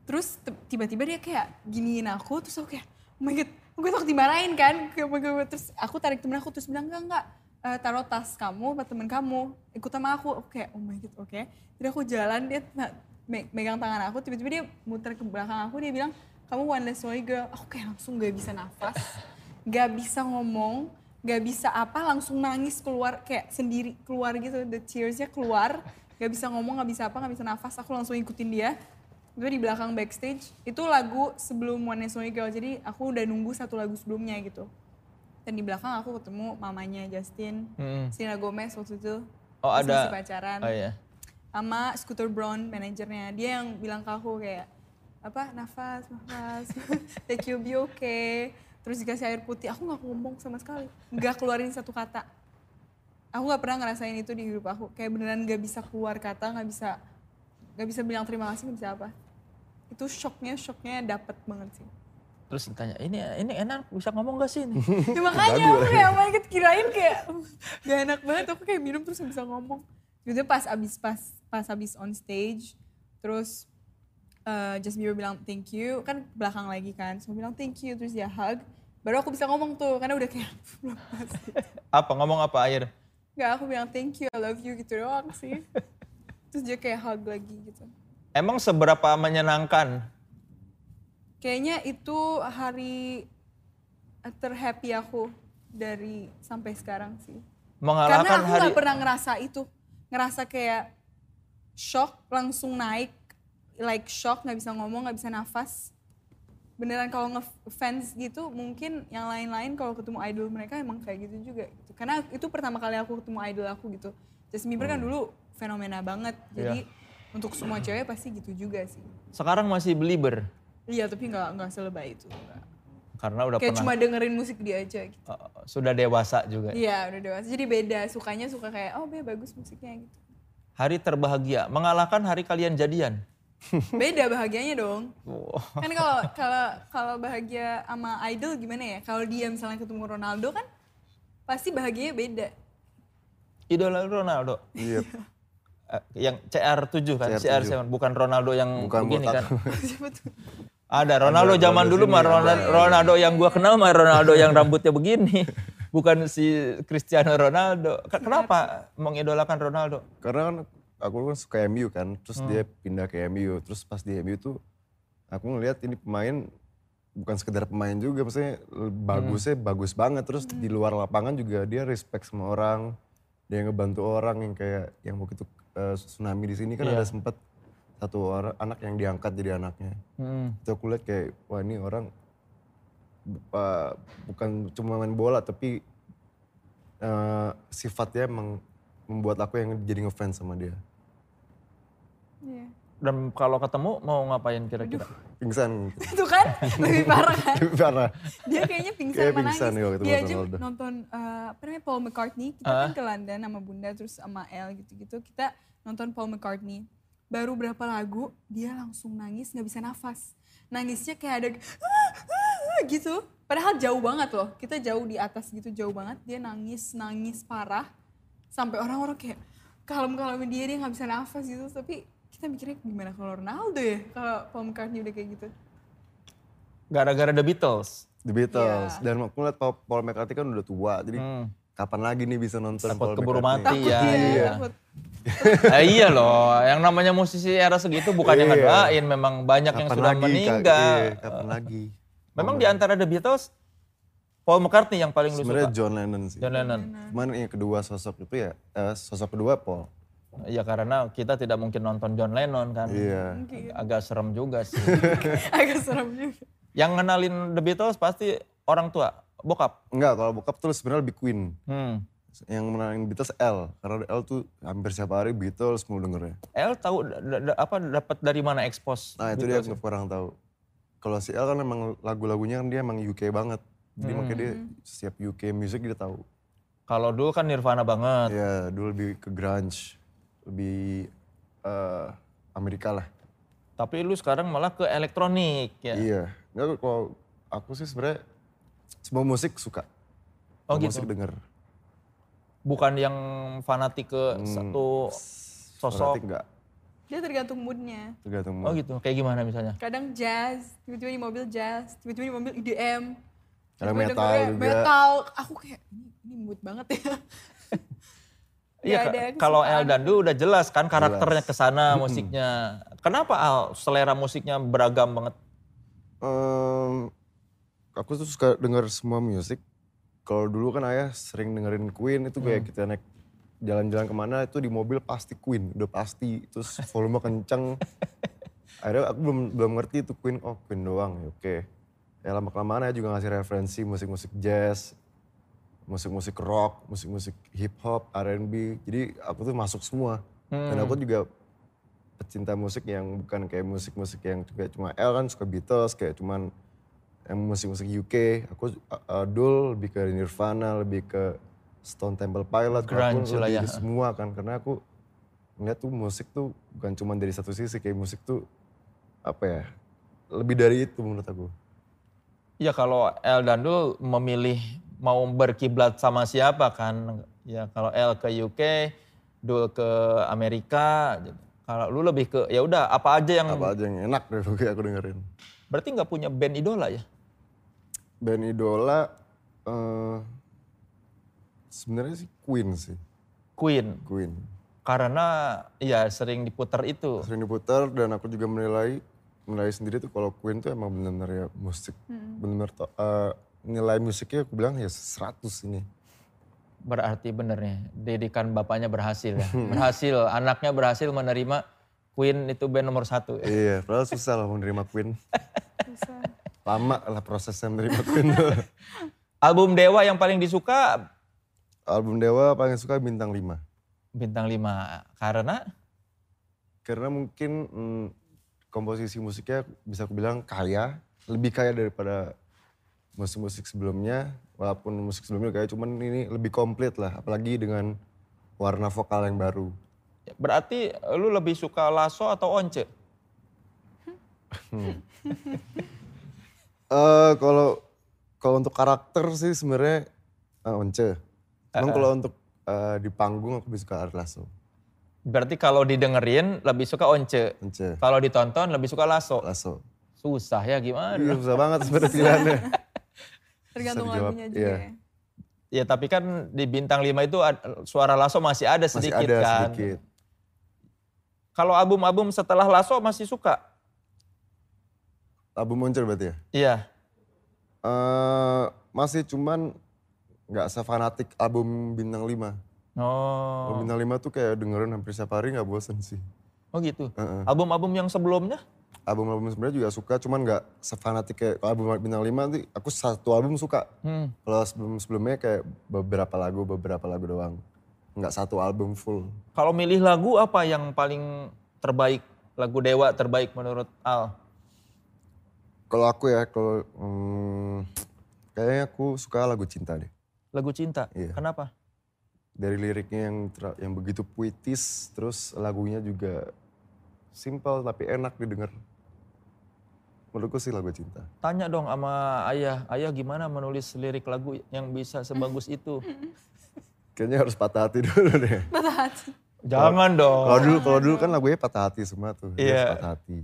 Terus te- tiba-tiba dia kayak giniin aku terus aku kayak oh my god gue takut dimarahin kan. Kayak, "Oh my God." Terus aku tarik temen aku terus bilang enggak enggak Eh, taruh tas kamu buat temen kamu ikut sama aku. Oke oh my god oke. Jadi aku jalan dia na- me- megang tangan aku tiba-tiba dia muter ke belakang aku dia bilang kamu one less lonely girl. Aku kayak langsung gak bisa nafas, gak bisa ngomong, gak bisa apa langsung nangis keluar kayak sendiri keluar gitu the tearsnya keluar gak bisa ngomong gak bisa apa gak bisa nafas aku langsung ikutin dia itu di belakang backstage itu lagu sebelum One Night Only Girl jadi aku udah nunggu satu lagu sebelumnya gitu dan di belakang aku ketemu mamanya Justin Hmm. Selena Gomez waktu itu Oh, Terus ada- masih pacaran Oh iya. sama Scooter Brown manajernya dia yang bilang ke aku kayak apa nafas nafas take you be okay terus dikasih air putih aku nggak ngomong sama sekali nggak keluarin satu kata aku nggak pernah ngerasain itu di hidup aku kayak beneran nggak bisa keluar kata nggak bisa nggak bisa bilang terima kasih nggak bisa apa itu shocknya shocknya dapet banget sih Terus ditanya, ini ini enak bisa ngomong gak sih ini? ya, makanya aku kayak oh my God, kirain kayak gak enak banget aku kayak minum terus gak bisa ngomong Jadi pas abis pas pas abis on stage terus eh Just Bieber bilang thank you kan belakang lagi kan so bilang thank you terus dia hug baru aku bisa ngomong tuh karena udah kayak belum pas apa ngomong apa akhir? nggak aku bilang thank you I love you gitu doang sih terus dia kayak hug lagi gitu Emang seberapa menyenangkan? kayaknya itu hari terhappy aku dari sampai sekarang sih Karena Mengalahkan aku hari nggak pernah ngerasa itu, ngerasa kayak shock langsung naik, like shock nggak bisa ngomong nggak bisa nafas. Beneran kalau ngefans gitu mungkin yang lain-lain kalau ketemu idol mereka emang kayak gitu juga. Gitu. Karena itu pertama kali aku ketemu idol aku gitu. Justin Bieber kan dulu fenomena banget, jadi untuk semua cewek pasti gitu juga sih. sekarang masih belieber Iya tapi nggak nggak selebay itu. nggak. karena udah Kayak pernah cuma dengerin musik dia aja gitu. uh, sudah dewasa juga. Iya udah dewasa, jadi beda. Sukanya suka kayak, oh be bagus musiknya gitu. Hari terbahagia mengalahkan hari kalian jadian. Beda bahagianya dong. Wow. Kan kalau kalau kalau bahagia sama idol gimana ya? Kalau dia misalnya ketemu Ronaldo kan pasti bahagianya beda. Idola Ronaldo Iya. Eh, yang CR7 kan, CR7. CR7 bukan Ronaldo yang Bukan begini botak. kan. Ada Ronaldo zaman Ronaldo dulu mah sini, Ronaldo, Ronaldo yang gua kenal mah Ronaldo yang rambutnya begini. Bukan si Cristiano Ronaldo. Ke- Kenapa mengidolakan Ronaldo? Karena kan aku kan suka MU kan, terus dia pindah ke MU. Terus pas di MU tuh aku ngelihat ini pemain bukan sekedar pemain juga, maksudnya le- bagusnya bagus banget. Terus di Hmm. luar lapangan juga dia respect sama orang. Dia ngebantu orang yang kayak yang waktu itu eh, tsunami di sini kan ada sempat satu orang anak yang diangkat jadi anaknya. Hmm. Itu aku lihat kayak wah ini orang bu- eh, bukan cuma main bola tapi eh, sifatnya emang membuat aku yang jadi ngefans sama dia. Iya. Dan kalau ketemu mau ngapain kira-kira? Pingsan Itu gitu. kan lebih parah kan. parah. Dia kayaknya pingsan Kayak sama pingsan nangis. ya waktu Dia nonton aja Ronaldo. nonton eh, apa namanya Paul McCartney. Kita kan Ah. ke London sama Bunda terus sama El gitu-gitu. Kita nonton Paul McCartney. Baru berapa lagu dia langsung nangis nggak bisa nafas. Nangisnya kayak ada gitu. Padahal jauh banget loh. Kita jauh di atas gitu jauh banget. Dia nangis nangis parah sampai orang-orang kayak kalem-kalemin dia dia nggak bisa nafas gitu. Tapi kita mikirnya gimana kalau Ronaldo ya kalau Paul McCartney udah kayak gitu. Gara-gara The Beatles. The Beatles. Dan aku ngeliat Paul, Paul McCartney kan udah tua, jadi Hmm. kapan lagi nih bisa nonton Takut Paul keburu mati McCartney? ya. iya. takut. Eh, iya loh, yang namanya musisi era segitu bukan yang Iya. ngedoain, memang banyak Kapan yang sudah lagi, Kak? meninggal. Iya, kapan lagi? Memang di antara The Beatles, Paul McCartney yang paling lu Sebenarnya suka. John Lennon sih. John Lennon. Cuman yang kedua sosok itu ya, eh, sosok kedua Paul. Ya karena kita tidak mungkin nonton John Lennon kan. Iya. Agak serem juga sih. Agak serem juga. yang ngenalin The Beatles pasti orang tua, bokap. Enggak, kalau bokap tuh sebenarnya lebih Queen. Hmm. Yang menangin Beatles L. Karena L tuh hampir setiap hari Beatles mulu dengernya. El tahu da- da- da- apa dapat dari mana expose? Nah itu dia ya? yang kurang tahu. Kalau si L kan Hmm. emang lagu-lagunya kan dia emang UK banget. Jadi makanya dia setiap UK music dia tahu. Kalau dulu kan Nirvana banget. Ya, dulu lebih ke grunge, lebih eh, Amerika lah. Tapi lu sekarang malah ke elektronik ya. Iya. Enggak kalau aku sih sebenarnya semua musik suka. Oh, Semua gitu. Musik denger. Bukan yang fanatik ke Hmm. satu Berarti sosok. enggak Dia tergantung moodnya. tergantung Oh mood. gitu. Kayak gimana misalnya? Kadang jazz, tiba-tiba di mobil jazz, tiba-tiba di mobil E EDM. Kadang Tiba-tiba metal dengernya juga. Metal. Aku kayak, ini, ini mood banget ya. Nggak Iya, ada ka- kalau El kesukaan. dan Du udah jelas kan karakternya Jelas. Hmm. ke sana musiknya. Kenapa Al selera musiknya beragam banget? Em, aku tuh suka denger semua musik. Kalau dulu kan ayah sering dengerin Queen itu kayak kita naik jalan-jalan kemana itu di mobil pasti Queen, udah pasti. Terus volume kenceng. Akhirnya aku belum belum ngerti itu Queen, oh Queen doang, ya oke. Ya lama-kelamaan ayah juga ngasih referensi musik-musik jazz, musik-musik rock, musik-musik hip hop, R&B. Jadi aku tuh masuk semua. Dan Hmm. aku juga pecinta musik yang bukan kayak musik-musik yang juga cuma L kan suka Beatles kayak cuman yang musik-musik UK aku uh, uh, Dul lebih ke Nirvana lebih ke Stone Temple Pilot Grunge aku lah lebih ya. ke semua kan karena aku ngeliat tuh musik tuh bukan cuma dari satu sisi kayak musik tuh apa ya lebih dari itu menurut aku Ya kalau El dan Du memilih mau berkiblat sama siapa kan? Ya kalau El ke UK, Du ke Amerika. gitu. Kalau lu lebih ke ya udah apa aja yang apa aja yang enak dari dulu aku dengerin berarti nggak punya band idola ya? band idola eh, sebenarnya sih Queen sih Queen. Queen Karena ya sering diputar itu. sering diputar dan aku juga menilai menilai sendiri tuh kalau Queen tuh emang benar-benar ya musik benar-benar to- eh, nilai musiknya aku bilang ya 100 ini Berarti benernya didikan bapaknya berhasil ya. berhasil, anaknya berhasil menerima Queen itu band nomor satu. iya padahal susah lah menerima Queen Susah. lama lah prosesnya menerima Queen Album Dewa yang paling disuka album Dewa paling suka bintang 5 bintang 5 karena karena mungkin mm, komposisi musiknya bisa aku bilang kaya lebih kaya daripada musik-musik sebelumnya walaupun musik sebelumnya kaya cuman ini lebih komplit lah apalagi dengan warna vokal yang baru ya, berarti lu lebih suka Lasso atau Once? Eh kalau kalau untuk karakter sih sebenarnya eh, Once. Cuman kalau untuk eh, di panggung aku bisa ke Ari Lasso. Berarti kalau didengerin lebih suka Once. Once, Kalau ditonton lebih suka Lasso. Lasso. Susah ya gimana? Iya susah banget sebenarnya pilihannya. Tergantung dijawab, lagunya juga iya. ya. Ya tapi kan di bintang 5 itu ad- suara Lasso masih ada Masih sedikit ada kan. sedikit. Kalau album-album setelah Lasso masih suka? Album muncul berarti ya? Iya. Eh masih cuman nggak sefanatik album Bintang 5. Album Oh. Bintang 5 tuh kayak dengerin hampir setiap hari nggak bosen sih. Oh gitu. Heeh. Album-album yang sebelumnya? Album-album sebenarnya juga suka cuman nggak sefanatik kayak kalau album Bintang 5 nanti aku satu album suka. Hmm. Kalau sebelum-sebelumnya kayak beberapa lagu, beberapa lagu doang. Nggak satu album full. Kalau milih lagu apa yang paling terbaik? Lagu Dewa terbaik menurut Al. Kalau aku ya, kalau hmm, kayaknya aku suka lagu cinta deh. Lagu Cinta. Iya. Kenapa? Dari liriknya yang ter- yang begitu puitis, terus lagunya juga simple tapi enak didengar. Menurutku sih lagu cinta. Tanya dong sama ayah, ayah gimana menulis lirik lagu yang bisa sebagus itu? Hmm. Kayaknya harus patah hati dulu deh. Patah hati. Jangan dong. Kalau Oh. dulu kalau dulu kan lagunya patah hati semua tuh. dia harus Iya. Patah hati.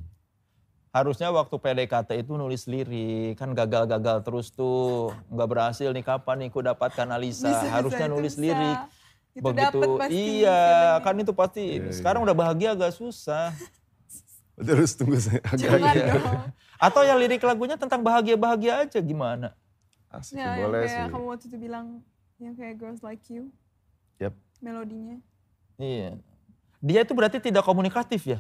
Harusnya waktu PDKT itu nulis lirik, kan gagal-gagal terus tuh, nggak berhasil nih kapan nih ku dapatkan Alisa. Bisa, bisa, Harusnya itu nulis bisa. lirik. Itu Begitu, dapet pasti iya feelingnya. kan itu pasti. Iya, Sekarang udah bahagia agak susah. Terus tunggu saya Jangan agak dong. Atau ya lirik lagunya tentang bahagia-bahagia aja gimana? asik Ya, yang boleh kayak sih. kamu waktu itu bilang yang kayak girls like you, Yap. melodinya. Iya. Dia itu berarti tidak komunikatif ya?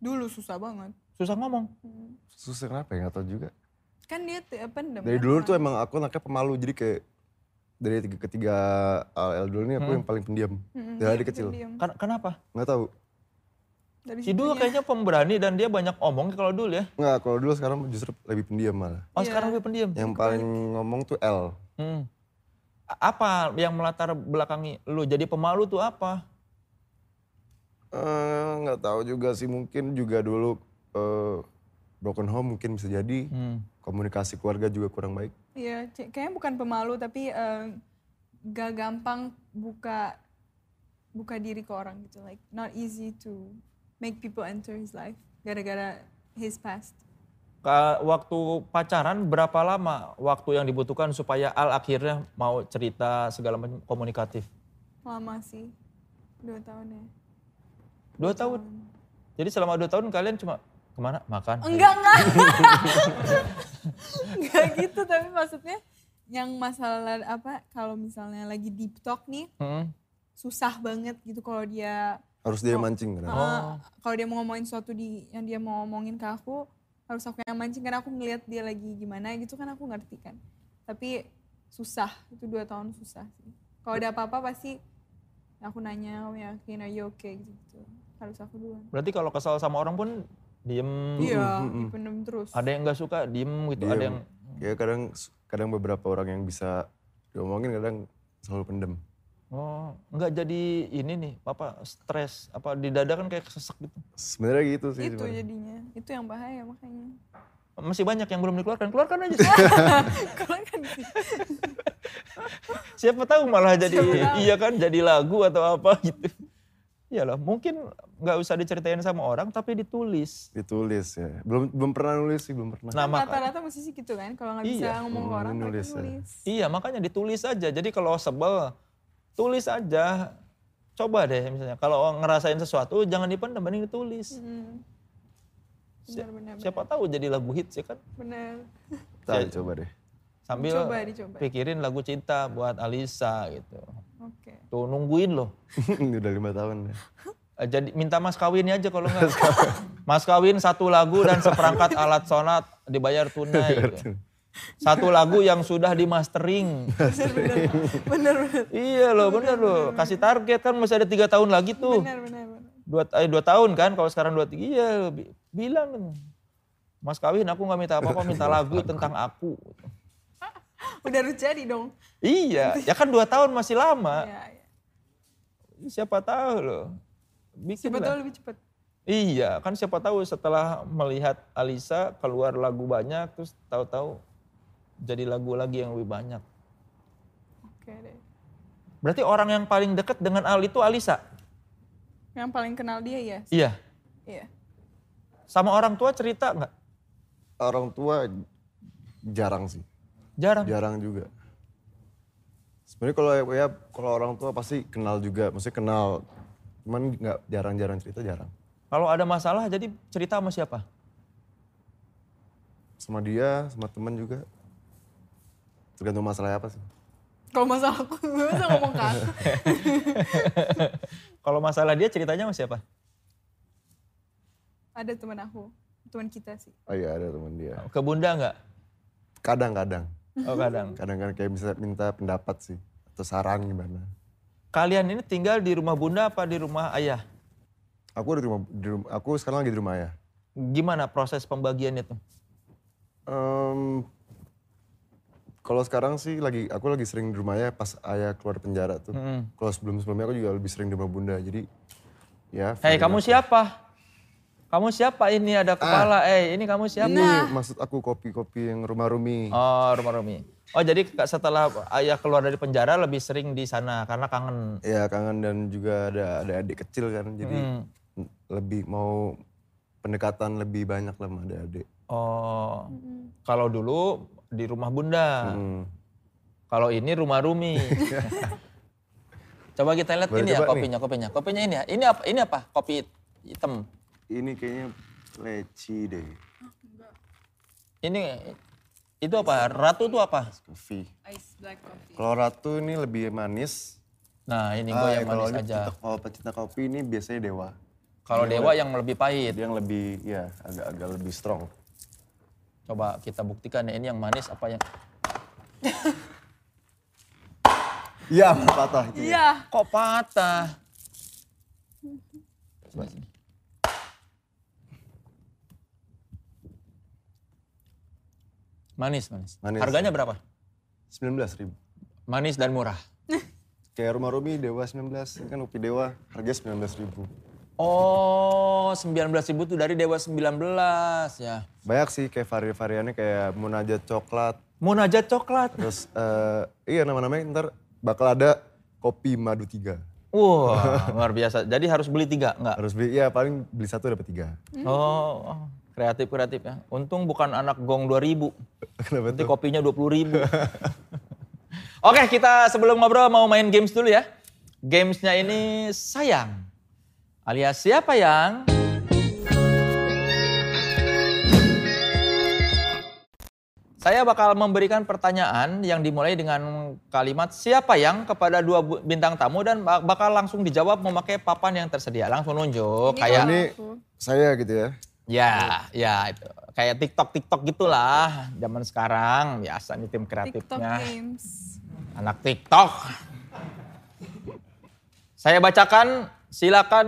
Dulu susah banget. Susah ngomong. Hmm. Susah kenapa ya? Gak tau juga. Kan dia t- pendem. Dari kan dulu orang. tuh emang aku anaknya pemalu jadi kayak dari tiga, ketiga AL dulu nih aku yang paling pendiam Mm-mm, dari dia kecil. Hmm, pendiam. Ken- Kan, Kenapa? Nggak tahu. Dari Si situnya. Dul kan kayaknya pemberani dan dia banyak omong kalau Dul ya. Nggak, kalau dulu sekarang justru lebih pendiam malah. Oh Iya. sekarang gue pendiam. Yang paling ngomong tuh L. Hmm. apa yang melatar belakangi lu jadi pemalu tuh apa? Eh, nggak tahu juga sih mungkin juga dulu eh, broken home mungkin bisa jadi Hmm. komunikasi keluarga juga kurang baik Iya, c- kayaknya bukan pemalu tapi eh, gak gampang buka buka diri ke orang gitu. Like not easy to make people enter his life gara-gara his past. Ka- Waktu pacaran berapa lama waktu yang dibutuhkan supaya Al akhirnya mau cerita segala macam komunikatif? Lama sih, dua tahun ya. Dua tahun. Jadi selama dua tahun kalian cuma kemana? Makan. Enggak, enggak. enggak gitu, tapi maksudnya yang masalah apa kalau misalnya lagi deep talk nih Hmm. susah banget gitu kalau dia harus Oh. dia mancing kan Uh, kalau dia mau ngomongin sesuatu di yang dia mau ngomongin ke aku harus aku yang mancing karena aku ngeliat dia lagi gimana gitu kan aku ngerti kan tapi susah itu dua tahun susah sih kalau ada apa-apa pasti aku nanya aku yakin are you okay gitu, harus aku duluan Berarti kalau kesal sama orang pun diem. iya dipendem terus Ada yang nggak suka diem gitu. Ada yang ya kadang kadang beberapa orang yang bisa diomongin kadang selalu pendem oh nggak jadi ini nih apa stres apa di dada kan kayak sesek gitu. sebenarnya gitu sih itu sebenarnya. jadinya itu yang bahaya makanya Masih banyak yang belum dikeluarkan. Keluarkan aja. sih. kalau kan sih. Siapa tahu malah jadi Siapa tahu. iya kan jadi lagu atau apa gitu. Iyalah mungkin nggak usah diceritain sama orang tapi ditulis. ditulis ya belum belum pernah nulis sih belum pernah Nah, maka- rata-rata musisi gitu kan kalau nggak bisa Iya. ngomong ke Hmm, orang mereka nulis ya. nulis Iya, makanya ditulis aja. Jadi kalau sebel, tulis aja. Coba deh misalnya. Kalau ngerasain sesuatu, jangan dipendam, mending ditulis. Hmm. benar-benar Siapa tahu jadi lagu hits ya kan. benar Ntar coba deh Sambil Dicoba, dicoba. pikirin lagu cinta buat Alisa gitu. oke Tuh nungguin loh. Ini udah lima tahun ya Eh, Jadi minta mas kawinnya aja kalau enggak. mas kawin satu lagu dan seperangkat alat sonat dibayar tunai. gitu. Satu lagu yang sudah di mastering. benar-benar iya loh bener loh. Kasih target kan masih ada tiga tahun lagi tuh. benar-benar benar. dua, eh, dua tahun kan kalau sekarang dua tiga iya bi- bilang mas kawin aku nggak minta apa-apa minta lagu tentang aku Udah harus jadi dong. iya ya kan dua tahun masih lama Iya, iya. siapa tahu loh bikin Siapa lah. tahu lebih cepat. iya kan siapa tahu setelah melihat Alisa keluar lagu banyak terus tahu-tahu jadi lagu lagi yang lebih banyak Oke deh. berarti orang yang paling dekat dengan Al itu Alisa Yang paling kenal dia ya. iya Iya. sama orang tua cerita nggak orang tua jarang sih jarang jarang juga sebenarnya kalau ya kalau orang tua pasti kenal juga maksudnya kenal cuman nggak jarang-jarang cerita jarang kalau ada masalah jadi cerita sama siapa sama dia sama teman juga tergantung masalah apa sih Kalau masalah aku gak bisa ngomong kan. ke aku. Kalau masalah dia ceritanya sama siapa? Ada teman aku, teman kita sih. oh iya ada teman dia Ke bunda nggak? kadang-kadang Oh kadang. kadang-kadang kayak bisa minta pendapat sih atau saran gimana Kalian ini tinggal di rumah bunda apa di rumah ayah? aku di rumah, di rumah- aku sekarang lagi di rumah ya Gimana proses pembagiannya tuh? Em, kalau sekarang sih lagi aku lagi sering di rumah ayah pas ayah keluar penjara tuh. Kalau sebelum sebelumnya aku juga lebih sering di rumah bunda. Jadi Hei ya. feeling Eh, kamu aku- siapa? Kamu siapa ini ada kepala? Eh ini kamu siapa? Ini maksud aku kopi-kopi yang rumah Rumi. Oh rumah Romi. Oh jadi k- setelah ayah keluar dari penjara lebih sering di sana karena kangen. Ya kangen dan juga ada ada adik kecil kan. Jadi n- lebih mau pendekatan lebih banyak lah sama adik-adik. Oh kalau dulu di rumah bunda. Hmm. Kalau ini rumah Rumi. coba kita lihat Boleh ini ya coba nih. kopinya, kopinya, kopinya ini ya. Ini apa? Ini apa? Kopi hitam. Ini kayaknya leci deh. Ini itu apa? Ratu itu apa? Coffee. Ice black coffee. Kalau ratu ini lebih manis. Nah ini gue Ah, ya, yang kalau manis ini aja. pecinta- Kalau pecinta kopi ini biasanya dewa. Kalau dewa yang lebih pahit. Dia yang lebih ya agak-agak lebih strong. Coba kita buktikan ya ini yang manis apa yang. Iya, patah itu. ya. Iya. Kok patah? Coba sini. Manis, manis. Manis. Harganya berapa? 19 ribu. manis dan murah. Kayak rumah Romi Dewa 19, ini kan Upi Dewa harga 19 ribu. Oh, 19 ribu tuh dari Dewa 19 ya. Banyak sih kayak varian-variannya kayak Munajat Coklat, Munajat coklat. terus eh, iya nama-namanya ntar bakal ada kopi madu tiga. Wah, luar biasa. Jadi harus beli tiga, enggak? Harus beli, ya paling beli satu dapat tiga. Oh, oh, kreatif-kreatif ya. Untung bukan anak gong 2000. Kenapa Nanti tuh? kopinya 20 ribu. Oke, kita sebelum ngobrol mau main games dulu ya. Gamesnya ini sayang. Alias siapa yang? Saya bakal memberikan pertanyaan yang dimulai dengan kalimat siapa yang kepada dua bu- bintang tamu dan ba- bakal langsung dijawab memakai papan yang tersedia. Langsung Ini nunjuk Oh, kayak kalau Ini aku. saya gitu ya. Ya, ya Iya. itu. kayak TikTok TikTok gitulah zaman sekarang biasa nih TikTok tim kreatifnya games. anak TikTok. Saya bacakan, silakan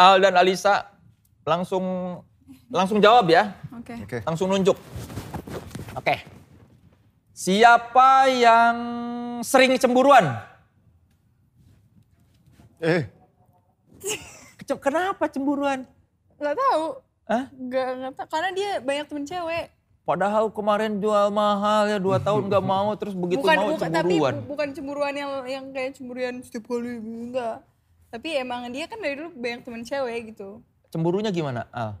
Al dan Alisa langsung langsung jawab ya, Oke. Oke. langsung nunjuk. Oke. Siapa yang sering cemburuan? Eh, Kece- Kenapa cemburuan? Gak tahu. Hah? Gak, gak tahu. Karena dia banyak temen cewek. Padahal kemarin jual mahal ya dua tahun nggak mau terus begitu bukan, Gitu, mau bukan- tapi cemburuan. bu- bukan cemburuan yang yang kayak cemburuan setiap kali enggak. Tapi emang dia kan dari dulu banyak temen cewek gitu. Cemburunya gimana? Al?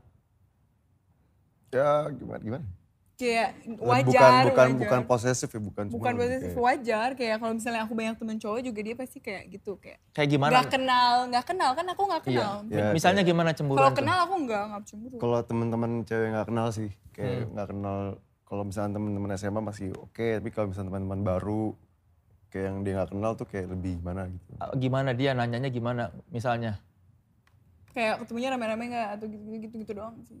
ya gimana gimana? Kayak Bukan wajar, bukan bukan, wajar. bukan posesif ya, bukan. bukan cuma posesif kayak- wajar kayak kalau misalnya aku banyak temen cowok juga dia pasti kayak gitu kayak Kayak gimana? Iya. nggak kenal nggak kenal kan aku nggak kenal Ya, Misalnya gimana cemburuan? kalau tuh? kenal aku nggak nggak cemburu Kalau teman-teman cewek nggak kenal sih, Hmm. kayak nggak kenal. Kalau misalnya teman-teman SMA masih oke, tapi kalau misalnya teman-teman baru, kayak yang dia nggak kenal tuh kayak lebih gimana gitu. Ah, Gimana dia nanyanya gimana misalnya? kayak ketemunya rame-rame nggak atau gitu gitu gitu doang sih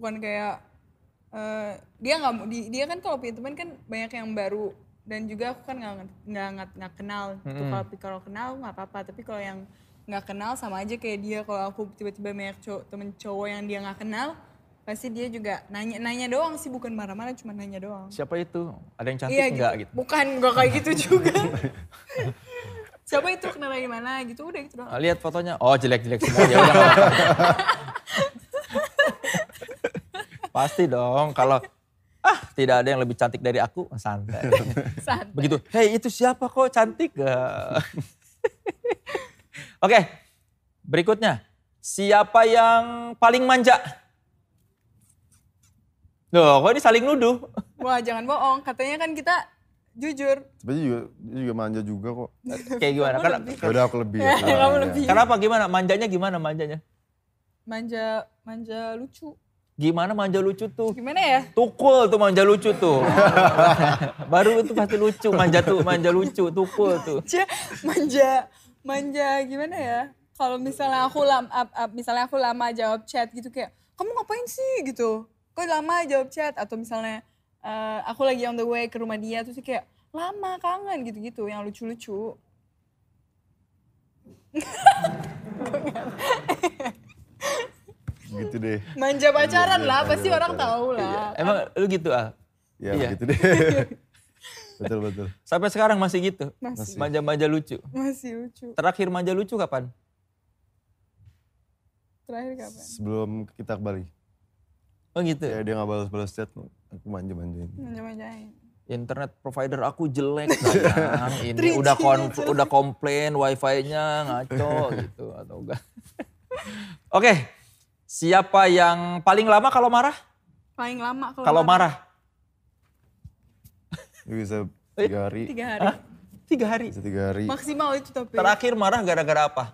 bukan kayak eh, dia nggak mau- di- dia kan kalau punya teman kan banyak yang baru dan juga aku kan nggak ngerti- nggak nggak- nggak kenal gitu kalau kalau kenal nggak apa-apa tapi kalau yang nggak kenal sama aja kayak dia kalau aku tiba-tiba banyak cowok temen cowok yang dia nggak kenal pasti dia juga nanya nanya doang sih bukan marah-marah cuma nanya doang Siapa itu? Ada yang Iya, cantik enggak gitu? bukan gak kayak gitu juga siapa itu kenal dari mana gitu udah gitu doang Ah, Lihat fotonya. Oh, jelek-jelek semua. Ya udah. nggak apa-apa. Pasti dong kalau ah tidak ada yang lebih cantik dari aku, santai. San. Begitu. Hei, itu siapa kok cantik? Ah. Oke. Berikutnya. Siapa yang paling manja? Loh, kok ini saling nuduh? Wah jangan bohong, katanya kan kita jujur. Sebenarnya juga dia juga manja juga kok. Kayak gimana? Karena, Ya udah aku lebih. ya. Kamu Iya. lebih kenapa gimana? Manjanya gimana manjanya? manja manja lucu. Gimana manja lucu tuh? Gimana ya? Tukul tuh manja lucu tuh. Baru itu pasti lucu, manja tuh, manja lucu, tukul tuh. Manja manja manja gimana ya? Kalau misalnya aku lam, up, up, misalnya aku lama jawab chat gitu kayak kamu ngapain sih gitu? Kok lama jawab chat atau misalnya eh, aku lagi on the way ke rumah dia terus dia kayak lama kangen gitu-gitu yang lucu-lucu. Gitu deh. Manja pacaran Iya, lah, manja pasti orang pacaran. tahu lah. Emang lu gitu ah? Ya Iya. gitu deh. betul betul. Sampai sekarang masih gitu? Masih. Manja-manja lucu. Masih lucu. Terakhir manja lucu kapan? Terakhir kapan? Sebelum kita ke Bali, Oh gitu. kayak dia nggak balas-balas chat, aku manja-manjain. Manja-manjain. internet provider aku jelek sayang. ini 3G-nya udah kon jelek. udah komplain wifi-nya ngaco gitu atau enggak oke siapa yang paling lama kalau marah Paling lama kalau kalau marah Dia bisa Oh, iya. tiga hari, tiga hari. Ah, tiga hari bisa tiga hari. Maksimal itu tapi terakhir marah gara-gara apa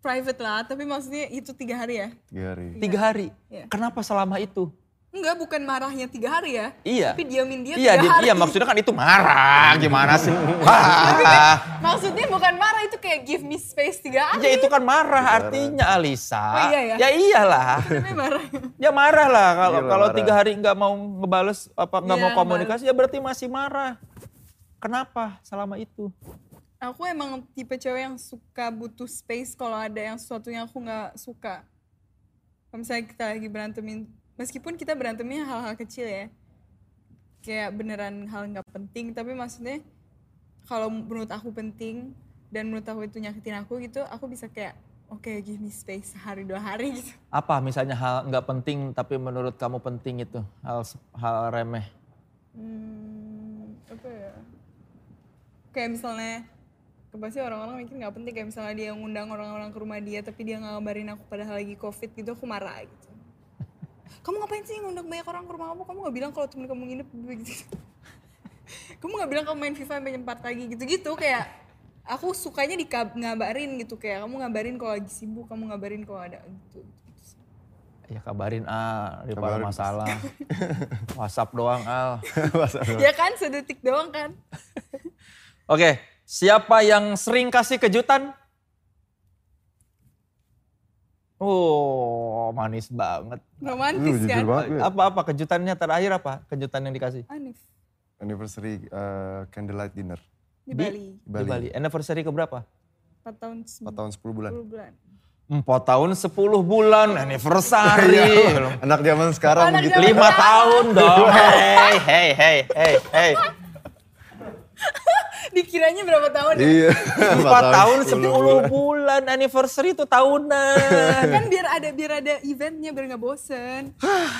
private lah, tapi maksudnya itu tiga hari ya? Tiga hari. tiga hari Iya. kenapa selama itu Enggak, bukan marahnya tiga hari ya? Iya. Tapi diamin dia iya tiga dia- hari. iya maksudnya kan itu marah gimana sih kan- Wah. Maksudnya bukan marah itu kayak give me space tiga hari. ya itu kan marah artinya Alisa Oh iya ya? ya iyalah Namanya marah. Ya marah lah kalau Iya lah, kalau marah. tiga hari nggak mau ngebales apa nggak Iya, mau komunikasi ya berarti masih marah. Kenapa selama itu? Aku emang tipe cewek yang suka butuh space kalau ada yang sesuatu yang aku nggak suka. Kalau misalnya kita lagi berantemin, meskipun kita berantemnya hal-hal kecil ya. kayak beneran hal nggak penting tapi maksudnya kalau menurut aku penting dan menurut aku itu nyakitin aku gitu aku bisa kayak oke give me space sehari dua hari gitu Apa misalnya hal nggak penting tapi menurut kamu penting itu hal hal remeh? Hmm, apa ya? Kayak misalnya, pasti orang-orang mikir nggak penting kayak misalnya dia ngundang orang-orang ke rumah dia tapi dia nggak ngabarin aku padahal lagi covid gitu aku marah gitu. Kamu ngapain sih ngundang banyak orang ke rumah kamu? Kamu nggak bilang kalau temen kamu nginep gitu. kamu nggak bilang kamu main FIFA sampai jam 4 pagi gitu-gitu kayak aku sukanya di ngabarin gitu kayak kamu ngabarin kalau lagi sibuk, kamu ngabarin kalau ada gitu. Ya kabarin Al, daripada Kabarin. masalah. WhatsApp doang Al. Iya. Ya kan sedetik doang kan? Oke, siapa yang sering kasih kejutan? Oh, manis banget. Lu Romantis jujur kan? banget lu. Apa-apa kejutannya terakhir apa? Kejutan yang dikasih? Anif Anniversary eh, candlelight dinner di Di- Bali. di Bali. Di Bali. Anniversary keberapa? 4 tahun 4 tahun 10 bulan. 10 bulan. 4 tahun 10 bulan anniversary. Anak zaman sekarang gitu. Anak begitu. zaman- Lima tahun dong. Hei, hei, hei, hei, hei. Dikiranya berapa tahun ya? Iya. Empat tahun sepuluh bulan anniversary itu tahunan. kan biar ada biar ada eventnya biar nggak bosen.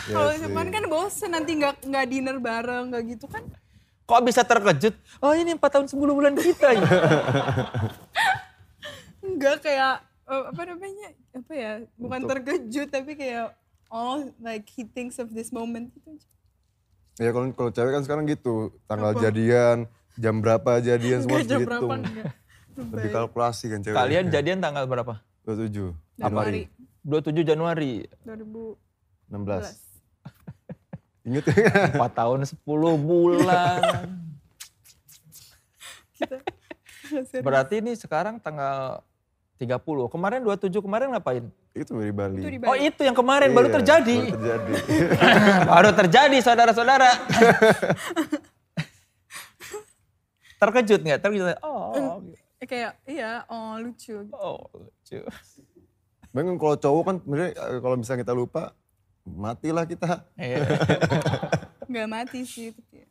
iya Kalau cuman kan bosen nanti nggak nggak dinner bareng nggak gitu kan? Kok bisa terkejut? Oh ini empat tahun sepuluh bulan kita ya. Nggak kayak eh, apa namanya apa ya bukan terkejut tapi kayak all like he thinks of this moment gitu. Ya kalau kalau cewek kan sekarang gitu, tanggal jadian, jam berapa jadian semua Nggak jam berapa dihitung. enggak. gitu. Lebih kalkulasi kan cewek. Kalian jadian tanggal berapa? 27, Januari 27 Januari. 2011. 16. Ingat ya? Empat tahun sepuluh bulan. Kita Berarti ini sekarang tanggal 30. Kemarin 27 kemarin ngapain? Itu dari Bali. itu di Oh Bali. itu yang kemarin baru Iya, terjadi. Baru terjadi. Baru terjadi saudara-saudara. terkejut nggak? Terkejut. nggak? Oh, Eh, kayak iya oh lucu. oh, lucu. Memang kalau cowok kan sebenarnya eh, kalau misalnya kita lupa, matilah kita. Iya. Nggak mati sih. tapi-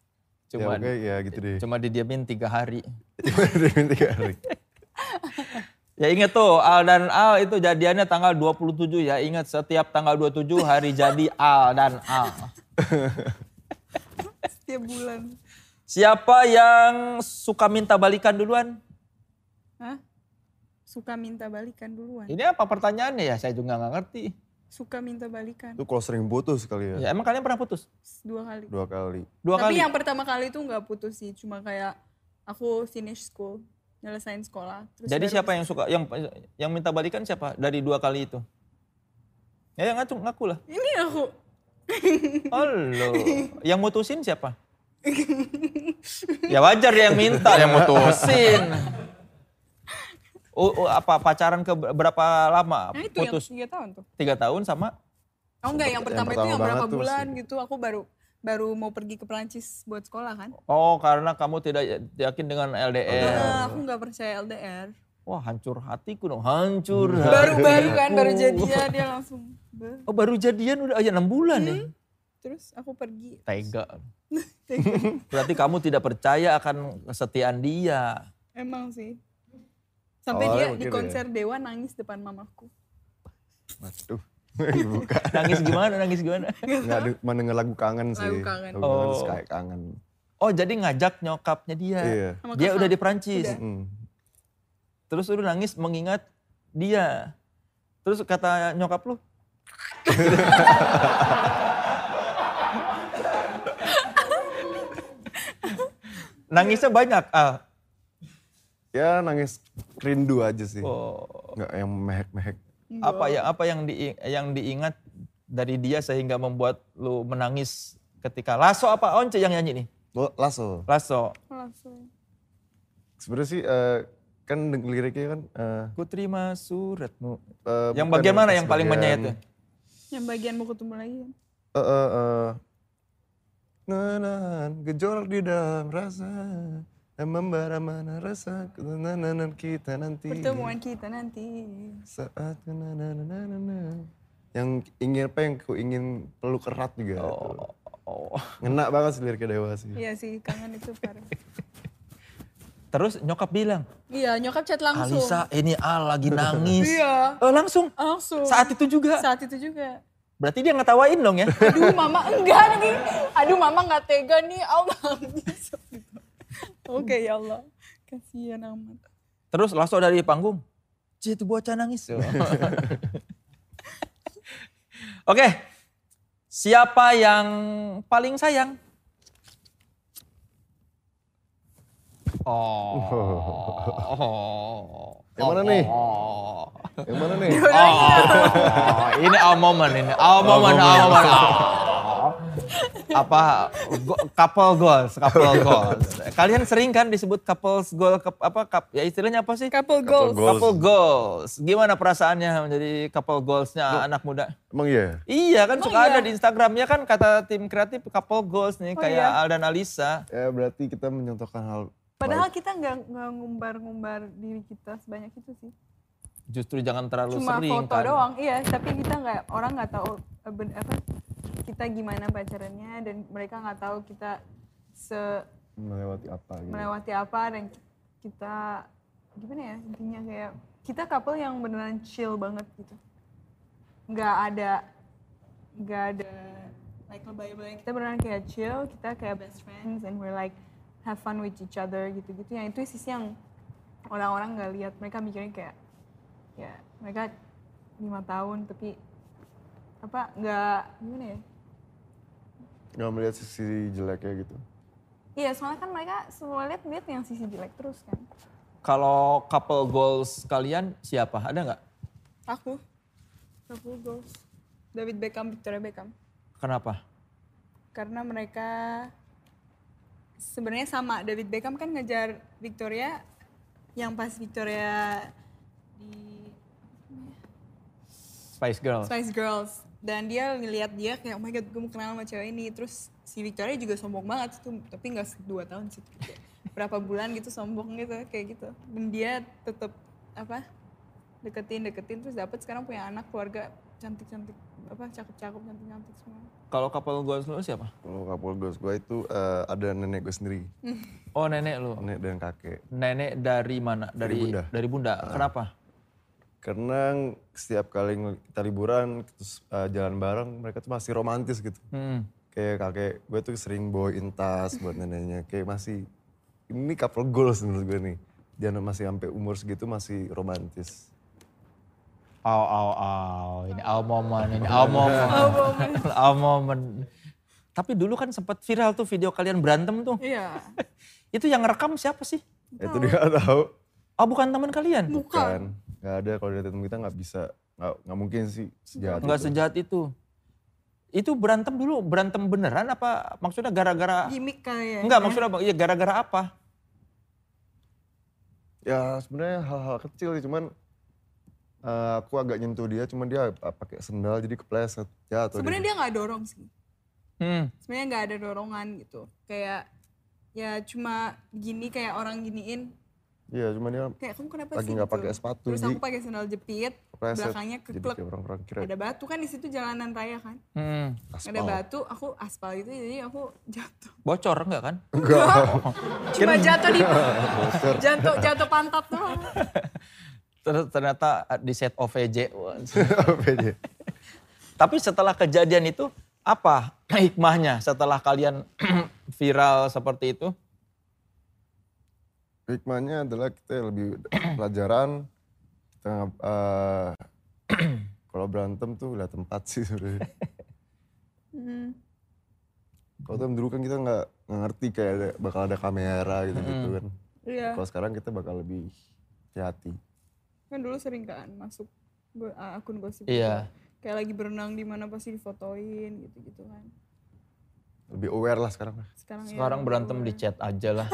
Ya Cuman, oke, ya gitu deh. cuma didiamin tiga hari. Cuma diemin tiga hari. Ya ingat tuh, Al dan Al itu jadiannya tanggal 27 ya. Ingat setiap tanggal 27 hari jadi Al dan Al. Setiap bulan. Siapa yang suka minta balikan duluan? Hah? Suka minta balikan duluan. Ini apa pertanyaannya ya? Saya juga nggak ngerti. Suka minta balikan Itu kalau sering putus kali Ya ya. emang kalian pernah putus? dua kali. Dua kali. Dua Tapi kali? yang pertama kali itu nggak putus sih, cuma kayak aku finish school, nyelesain sekolah. Terus Jadi baru- siapa yang suka, yang yang minta balikan siapa dari dua kali itu? Ya yang ngaku, ngaku lah. Ini aku. Oh lo. yang mutusin siapa? ya wajar dia yang minta, yang mutusin. Oh, oh, apa pacaran ke berapa lama? Nah itu Putus yang tiga tahun tuh. tiga tahun sama Oh enggak, yang pertama, itu pertama yang berapa banget tuh bulan gitu, aku baru baru mau pergi ke Perancis buat sekolah kan. Oh, karena kamu tidak yakin dengan Iya. LDR. Nah, aku nggak percaya Nah. LDR. Wah, hancur hatiku dong. Hancur. Baru-baru kan, Uh. baru hatiku. jadian dia langsung. "Bah." Oh, baru jadian udah oh, ya 6 bulan Hmm? ya. Terus aku pergi. Tega. Tega. Berarti kamu tidak percaya akan kesetiaan dia. Emang sih. Sampai Awalnya dia di begitu ya. konser Dewa nangis depan mamaku. Waduh. Bukan. Nangis gimana? Nangis gimana? Nggak ada- mendengar lagu kangen sih. Lagu kangen. Lagu kangen terus Oh. kayak kangen. Oh, jadi ngajak nyokapnya dia. Iya. Sama Dia kakak. udah di Prancis. Udah. Hmm. Terus lu nangis mengingat dia. Terus kata nyokap lu, Nangisnya banyak. Ah, Ya nangis rindu aja sih. oh. Nggak yang mehek-mehek. Iya, apa ya apa yang di, yang diingat dari dia sehingga membuat lu menangis ketika Lasso apa Once yang nyanyi nih? Lo- Lasso. Lasso. Langsung. Sebenarnya sih eh, kan deng- liriknya kan eh, Ku terima suratmu. eh, Yang bukan, bagian mana yang pas paling menyayat? bagian- ya? Yang bagian mau ketemu lagi kan. Eh, eh, eh. Nenan, gejolak di dalam rasa dan membara mana rasa kenanan kita nanti Pertemuan Iya. kita nanti. saat kenanananana. yang ingin apa yang ku ingin peluk erat juga tuh. Oh. Ngena banget sih liriknya Dewa sih. Iya sih, kangen itu parah. Terus nyokap bilang, Iya, nyokap chat langsung. Alisa ini Al lagi nangis. Iya. Eh, langsung. Langsung. Saat itu juga. Saat itu juga. Berarti dia ngetawain dong ya. Aduh mama enggak lagi. Aduh mama nggak tega nih. Allah bisa. Oke ya Allah. Kasihan amat. Terus Lasso dari panggung. Cie itu bocah nangis. Oh. Oke. Siapa yang paling sayang? Oh. Oh. Yang mana nih? Oh. Yang mana nih? Oh. Ini our moment ini. Our moment, our moment. Oh. Apa go- couple goals, couple goals. Kalian sering kan disebut couples goal kap- apa kap, ya istilahnya apa sih? Couple goals. goals. Couple goals. Gimana perasaannya menjadi couple goals-nya anak muda? Emang iya? Iya kan Emang suka ada iya? di Instagramnya kan kata tim kreatif couple goals nih Oh kayak iya? Al dan Alisa. Ya berarti kita mencontohkan hal Padahal kita nggak nggak ngumbar-ngumbar diri kita sebanyak itu sih. Justru jangan terlalu Cuma sering foto kan. doang, iya. Tapi kita nggak orang nggak tahu eh, ben- apa kita gimana pacarannya dan mereka nggak tahu kita se melewati apa gitu. melewati apa dan ki- kita gimana ya intinya kayak kita couple yang beneran chill banget gitu nggak ada nggak ada like lebay-lebay kita beneran kayak chill kita kayak best friends and we're like have fun with each other gitu-gitu yang itu sisi yang orang-orang nggak lihat mereka mikirnya kayak ya mereka lima tahun tapi apa nggak gimana ya Nggak melihat sisi jeleknya gitu. iya soalnya kan mereka semua lihat lihat yang sisi jelek terus kan Kalau couple goals kalian siapa? Ada nggak? Aku. Aku goals. David Beckham, Victoria Beckham. Kenapa? Karena mereka sebenarnya sama. David Beckham kan ngejar Victoria yang pas Victoria di Spice Girls. Spice Girls dan dia ngeliat dia kayak oh my god gue mau kenal sama cewek ini terus si Victoria juga sombong banget tuh tapi nggak dua tahun sih Kayak berapa bulan gitu sombong gitu kayak gitu dan dia tetap apa deketin deketin terus dapet sekarang punya anak keluarga cantik cantik apa cakep cakep cantik cantik semua Kalau couple goals lu siapa? Kalau kapol gue gue itu eh, ada nenek gue sendiri, Oh nenek lu. nenek dan kakek. Nenek dari mana? Dari Dari bunda. Dari bunda. Ah. Kenapa? Karena setiap kali ngel- kita liburan, terus eh, jalan bareng, mereka tuh masih romantis gitu. Hmm. Kayak kakek gue tuh sering bawain tas buat neneknya. Kayak masih, ini couple goals menurut gue nih. Dia masih sampai umur segitu masih romantis. Au au au. Ini au moment, ini au moment. au moment. Tapi dulu kan sempat viral tuh video kalian berantem tuh. iya Itu yang rekam siapa sih? Itu dia nggak tahu. Oh bukan teman kalian? bukan Kan, nggak ada kalau dari temen kita nggak bisa, nggak nggak mungkin sih sejahat Enggak itu. sejahat itu. Itu berantem dulu, berantem beneran apa? Maksudnya gara-gara gimmick kali ya Enggak, maksudnya apa? Iya gara-gara apa? Ya sebenarnya hal-hal kecil sih, cuman eh, aku agak nyentuh dia, cuman dia eh, pakai sendal jadi kepleset jatuh. dia. sebenarnya dia nggak dorong sih Hmm. sebenarnya nggak ada dorongan gitu kayak ya cuma gini kayak orang giniin Iya, cuman dia kayak kamu kenapa Lagi sih nggak gitu?" pakai sepatu, terus aku Ji. pakai sandal jepit kepleset. belakangnya Jadi keklek kayak orang-orang kira ada batu kan di situ jalanan raya kan Hmm. ada batu aku aspal gitu jadi aku jatuh Bocor enggak kan? cuma jatuh di jatuh jatuh pantat doang Ter- Ternyata di set OVJ. Wah, apa dia. Tapi setelah kejadian itu apa hikmahnya setelah kalian viral seperti itu? Hikmahnya adalah kita lebih pelajaran, kita nggak- eh, kalau berantem tuh udah tempat sih sebenarnya. Hmm. Kalau tuh dulu kan kita nggak nggak ngerti kayak ada- bakal ada kamera gitu-gitu kan. iya Kalau sekarang kita bakal lebih hati-hati. kan dulu sering kan masuk go- ah, akun gosip Iya. gitu. kayak lagi berenang di mana pasti difotoin gitu gitu kan Lebih aware lah sekarang. sekarang, ya Sekarang berantem di chat aja lah.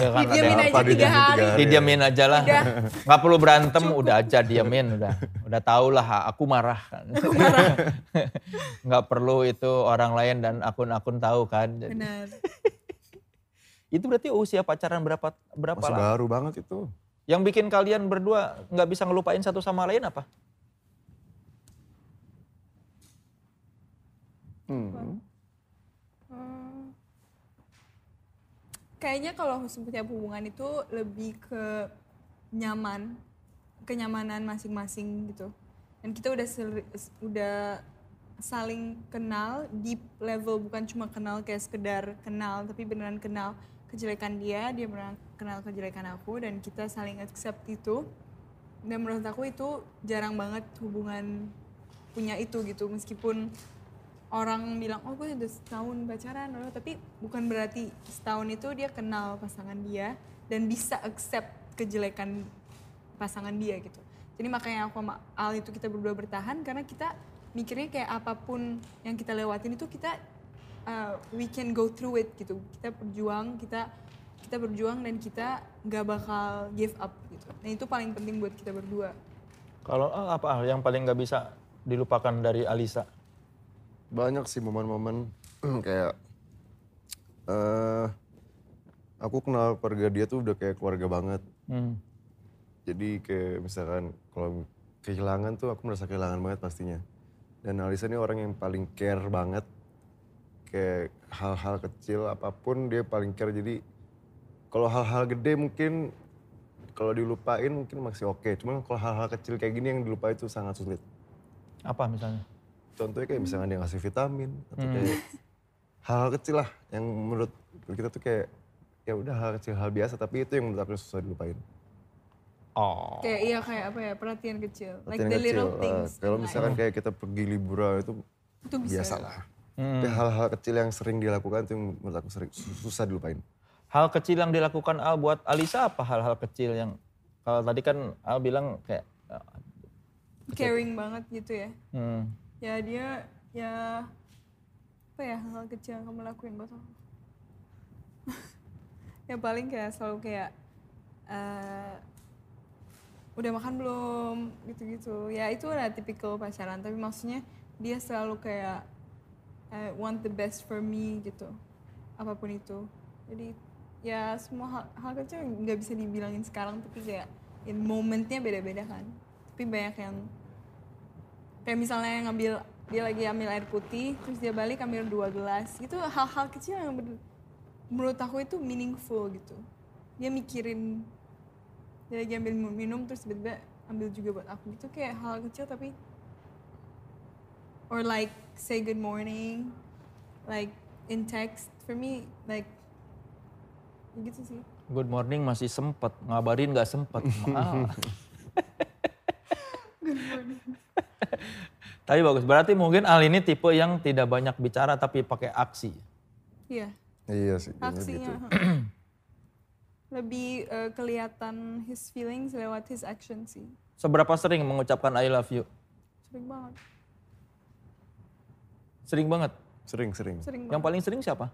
ya kan ada didiamin aja tiga apa hari didiamin tiga hari? Didiamin aja lah. Nggak perlu berantem, udah aja diamin udah. Udah tau lah aku marah kan. Nggak perlu itu orang lain dan akun-akun tahu kan. Jadi, benar itu berarti usia pacaran berapa berapa Masih lama? baru banget itu. Yang bikin kalian berdua nggak bisa ngelupain satu sama lain apa? Hmm. Hmm. Apa Hmm. kayaknya kalau setiap hubungan itu lebih ke nyaman, kenyamanan masing-masing gitu. Dan kita udah sel- udah saling kenal di level bukan cuma kenal kayak sekedar kenal, tapi beneran kenal kejelekan dia, dia beneran kenal kejelekan aku dan kita saling accept itu. Dan menurut aku itu jarang banget hubungan punya itu gitu meskipun orang bilang oh gue udah setahun pacaran loh tapi bukan berarti setahun itu dia kenal pasangan dia dan bisa accept kejelekan pasangan dia gitu jadi makanya aku sama Al itu kita berdua bertahan karena kita mikirnya kayak apapun yang kita lewatin itu kita uh, we can go through it gitu kita berjuang kita kita berjuang dan kita nggak bakal give up gitu nah itu paling penting buat kita berdua Kalau Al, apa Al yang paling nggak bisa dilupakan dari Alisa? banyak sih momen-momen kayak eh aku kenal keluarga dia tuh udah kayak keluarga banget Hmm. jadi kayak misalkan kalau kehilangan tuh aku merasa kehilangan banget pastinya dan Alisa ini orang yang paling care banget kayak hal-hal kecil apapun dia paling care jadi kalau hal-hal gede mungkin kalau dilupain mungkin masih oke cuman kalau hal-hal kecil kayak gini yang dilupain itu sangat sulit Apa misalnya? contohnya kayak misalnya dia ngasih vitamin atau kayak hal-hal kecil lah yang menurut kita tuh kayak ya udah hal kecil hal biasa tapi itu yang menurut aku susah dilupain Oh. kayak iya kayak apa ya perhatian kecil like Perhatian the little kecil, eh, things in kalau life. misalkan kayak kita pergi liburan itu itu bisa biasa lah tapi hal-hal kecil yang sering dilakukan itu yang menurut aku sering sus- susah dilupain Hal kecil yang dilakukan Al buat Alisa apa hal-hal kecil yang kalau tadi kan Al bilang kayak caring banget gitu ya hmm, ya dia ya apa ya hal kecil yang kamu lakuin buat aku ya paling kayak selalu kayak eh, udah makan belum gitu-gitu ya itu udah tipikal pacaran tapi maksudnya dia selalu kayak eh, want the best for me gitu apapun itu jadi ya semua hal, hal kecil nggak bisa dibilangin sekarang tapi kayak in momentnya beda-beda kan tapi banyak yang kayak misalnya ngambil dia lagi ambil air putih terus dia balik ambil dua gelas gitu hal-hal kecil yang bener- menurut aku itu meaningful gitu dia mikirin dia lagi ambil mi- minum terus tiba-tiba ambil juga buat aku gitu kayak hal kecil tapi or like say good morning like in text for me like gitu sih good morning masih sempet ngabarin nggak sempet. Maaf. Tapi bagus. Berarti mungkin Al ini tipe yang tidak banyak bicara tapi pakai aksi. iya iya sih kayaknya gitu aksinya lebih eh, kelihatan his feelings lewat his action sih Seberapa sering mengucapkan I love you? sering banget Sering banget. sering sering sering banget Yang paling sering siapa?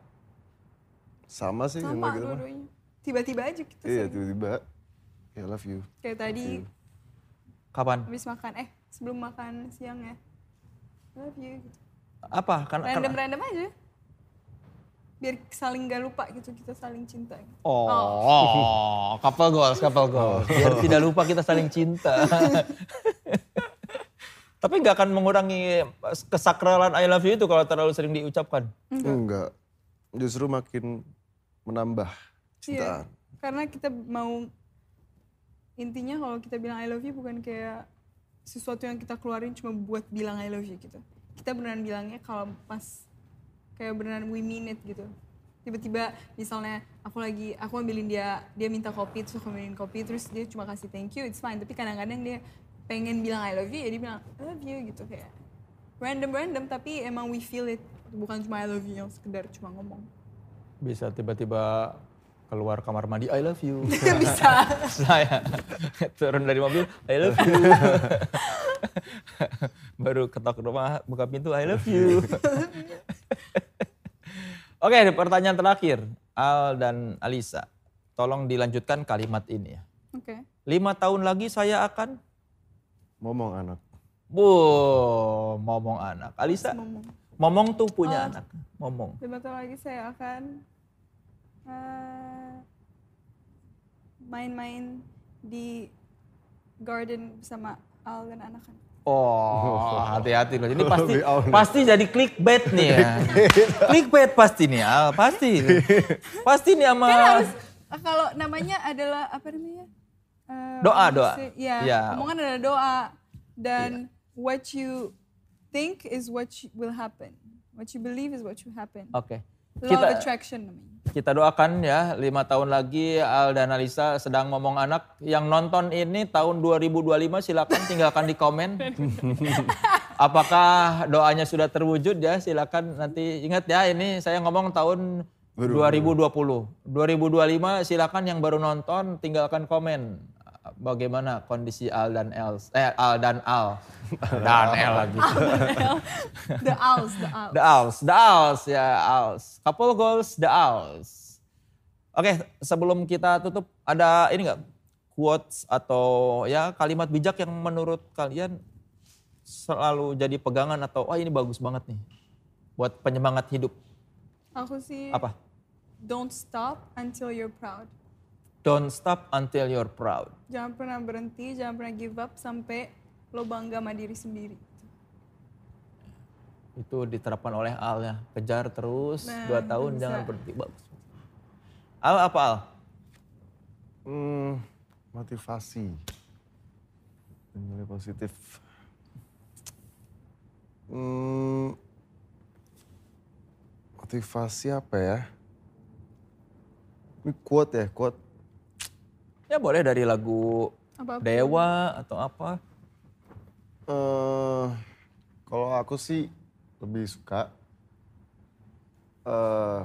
sama sih sama sama gitu mah dua-duanya tiba-tiba aja kita iya sering tiba-tiba "Ya, I love you kayak tadi Kapan? habis makan eh sebelum makan siang ya love you gitu. Apa? Kan, kan- random random aja biar saling gak lupa gitu kita saling cinta gitu. Oh, Oh, couple goals, couple goals. Biar tidak lupa kita saling cinta. Tapi nggak akan mengurangi kesakralan I love you itu kalau terlalu sering diucapkan. enggak justru makin menambah Iya. cintaan karena kita mau intinya kalau kita bilang I love you bukan kayak sesuatu yang kita keluarin cuma buat bilang I love you gitu. Kita beneran bilangnya kalau pas kayak beneran we mean it gitu. Tiba-tiba misalnya aku lagi aku ambilin dia dia minta kopi terus aku ambilin kopi terus dia cuma kasih thank you it's fine tapi kadang-kadang dia pengen bilang I love you ya dia bilang I love you gitu kayak random random tapi emang we feel it bukan cuma I love you yang sekedar cuma ngomong. Bisa tiba-tiba keluar kamar mandi I love you. Bisa. Saya Nah, ya. turun dari mobil I love you. Baru ketok rumah buka pintu I love you. Oke, pertanyaan terakhir Al dan Alisa. Tolong dilanjutkan kalimat ini ya. Oke. Lima tahun lagi saya akan ngomong anak bu momong anak. Alisa, Ngomong. momong tuh Oh. punya anak. Momong. Lima tahun lagi saya akan eh, main-main di garden bersama Al dan anak-anak. Oh, hati-hati loh. Jadi Ya pasti Lebih awal. pasti jadi clickbait nih ya. clickbait pasti nih, Al. Pasti. pasti nih sama Kan harus eh, kalau namanya adalah apa namanya? Eh, Doa, doa. manusia- Iya. Iya. Omongan adalah doa dan what you think is what you- will happen. What you believe is what you happen. Oke. Law of Oh, Kita- attraction namanya. Kita doakan ya, lima tahun lagi Al dan Alisa sedang ngomong anak. Yang nonton ini tahun 2025 silakan tinggalkan di komen. Apakah doanya sudah terwujud ya, silakan nanti ingat ya ini saya ngomong tahun 2020. 2025 silakan yang baru nonton tinggalkan komen. Bagaimana kondisi Al dan El, eh Al dan Al, dan El lagi. the owls, the owls. The Owls, The Owls ya Owls. Couple goals The Owls. Oke, sebelum kita tutup ada ini enggak quotes atau ya kalimat bijak yang menurut kalian selalu jadi pegangan atau wah ini bagus banget nih buat penyemangat hidup. Aku sih Apa? don't stop until you're proud. Don't stop until you're proud. Jangan pernah berhenti, jangan pernah give up sampai lo bangga sama diri sendiri. Itu diterapkan oleh Al ya. Kejar terus Nah, dua tahun bisa. jangan berhenti. Bagus. Al apa Al? Hmm, motivasi. Nilai positif. Hmm, motivasi apa ya? Ini quote ya, quote. Ya boleh dari lagu Apa-apa. Dewa atau apa. eh kalau aku sih lebih suka eh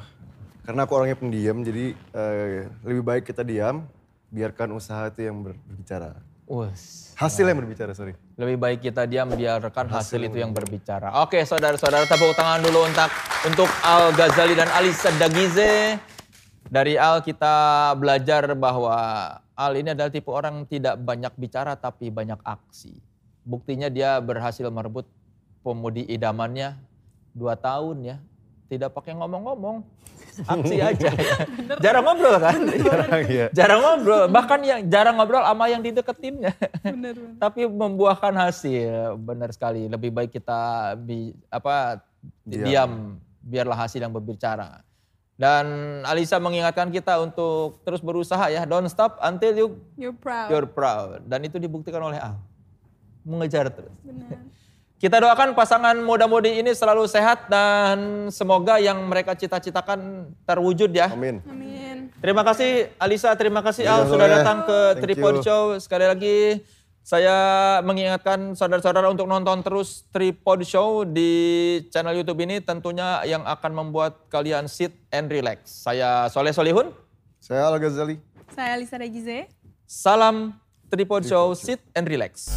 karena aku orangnya pendiam, jadi eh, lebih baik kita diam, biarkan usaha itu yang ber- berbicara. Wes. Hasil yang berbicara, sorry. Lebih baik kita diam biarkan hasil itu yang berbicara. Oke, saudara-saudara tepuk tangan dulu untuk untuk Al Ghazali dan Ali Sadagize. Dari Al kita belajar bahwa Al ini adalah tipe orang tidak banyak bicara tapi banyak aksi. Buktinya dia berhasil merebut pemudi idamannya dua tahun ya. Tidak pakai ngomong-ngomong, aksi aja. Jarang ngobrol kan? Iya. Jarang ngobrol, bahkan yang jarang ngobrol sama yang dideketinnya Bener bener. tapi membuahkan hasil benar sekali lebih baik kita bi- apa diam. Diam. biarlah hasil yang berbicara dan Alisa mengingatkan kita untuk terus berusaha ya don't stop until you You're proud. you're proud dan itu dibuktikan oleh Al mengejar terus Bener. kita doakan pasangan muda-mudi ini selalu sehat dan semoga yang mereka cita-citakan terwujud ya Amin. Amin. Terima kasih Alisa, terima kasih Terima Al kasih, sudah Al. datang ke Iya, Thank Tripod you. Show. Sekali lagi saya mengingatkan saudara-saudara untuk nonton terus Tripod Show di channel YouTube ini tentunya yang akan membuat kalian sit and relax. Saya Soleh Solihun, Saya Al Ghazali. Saya Lisa Regize. salam Tripod Show, sit and relax.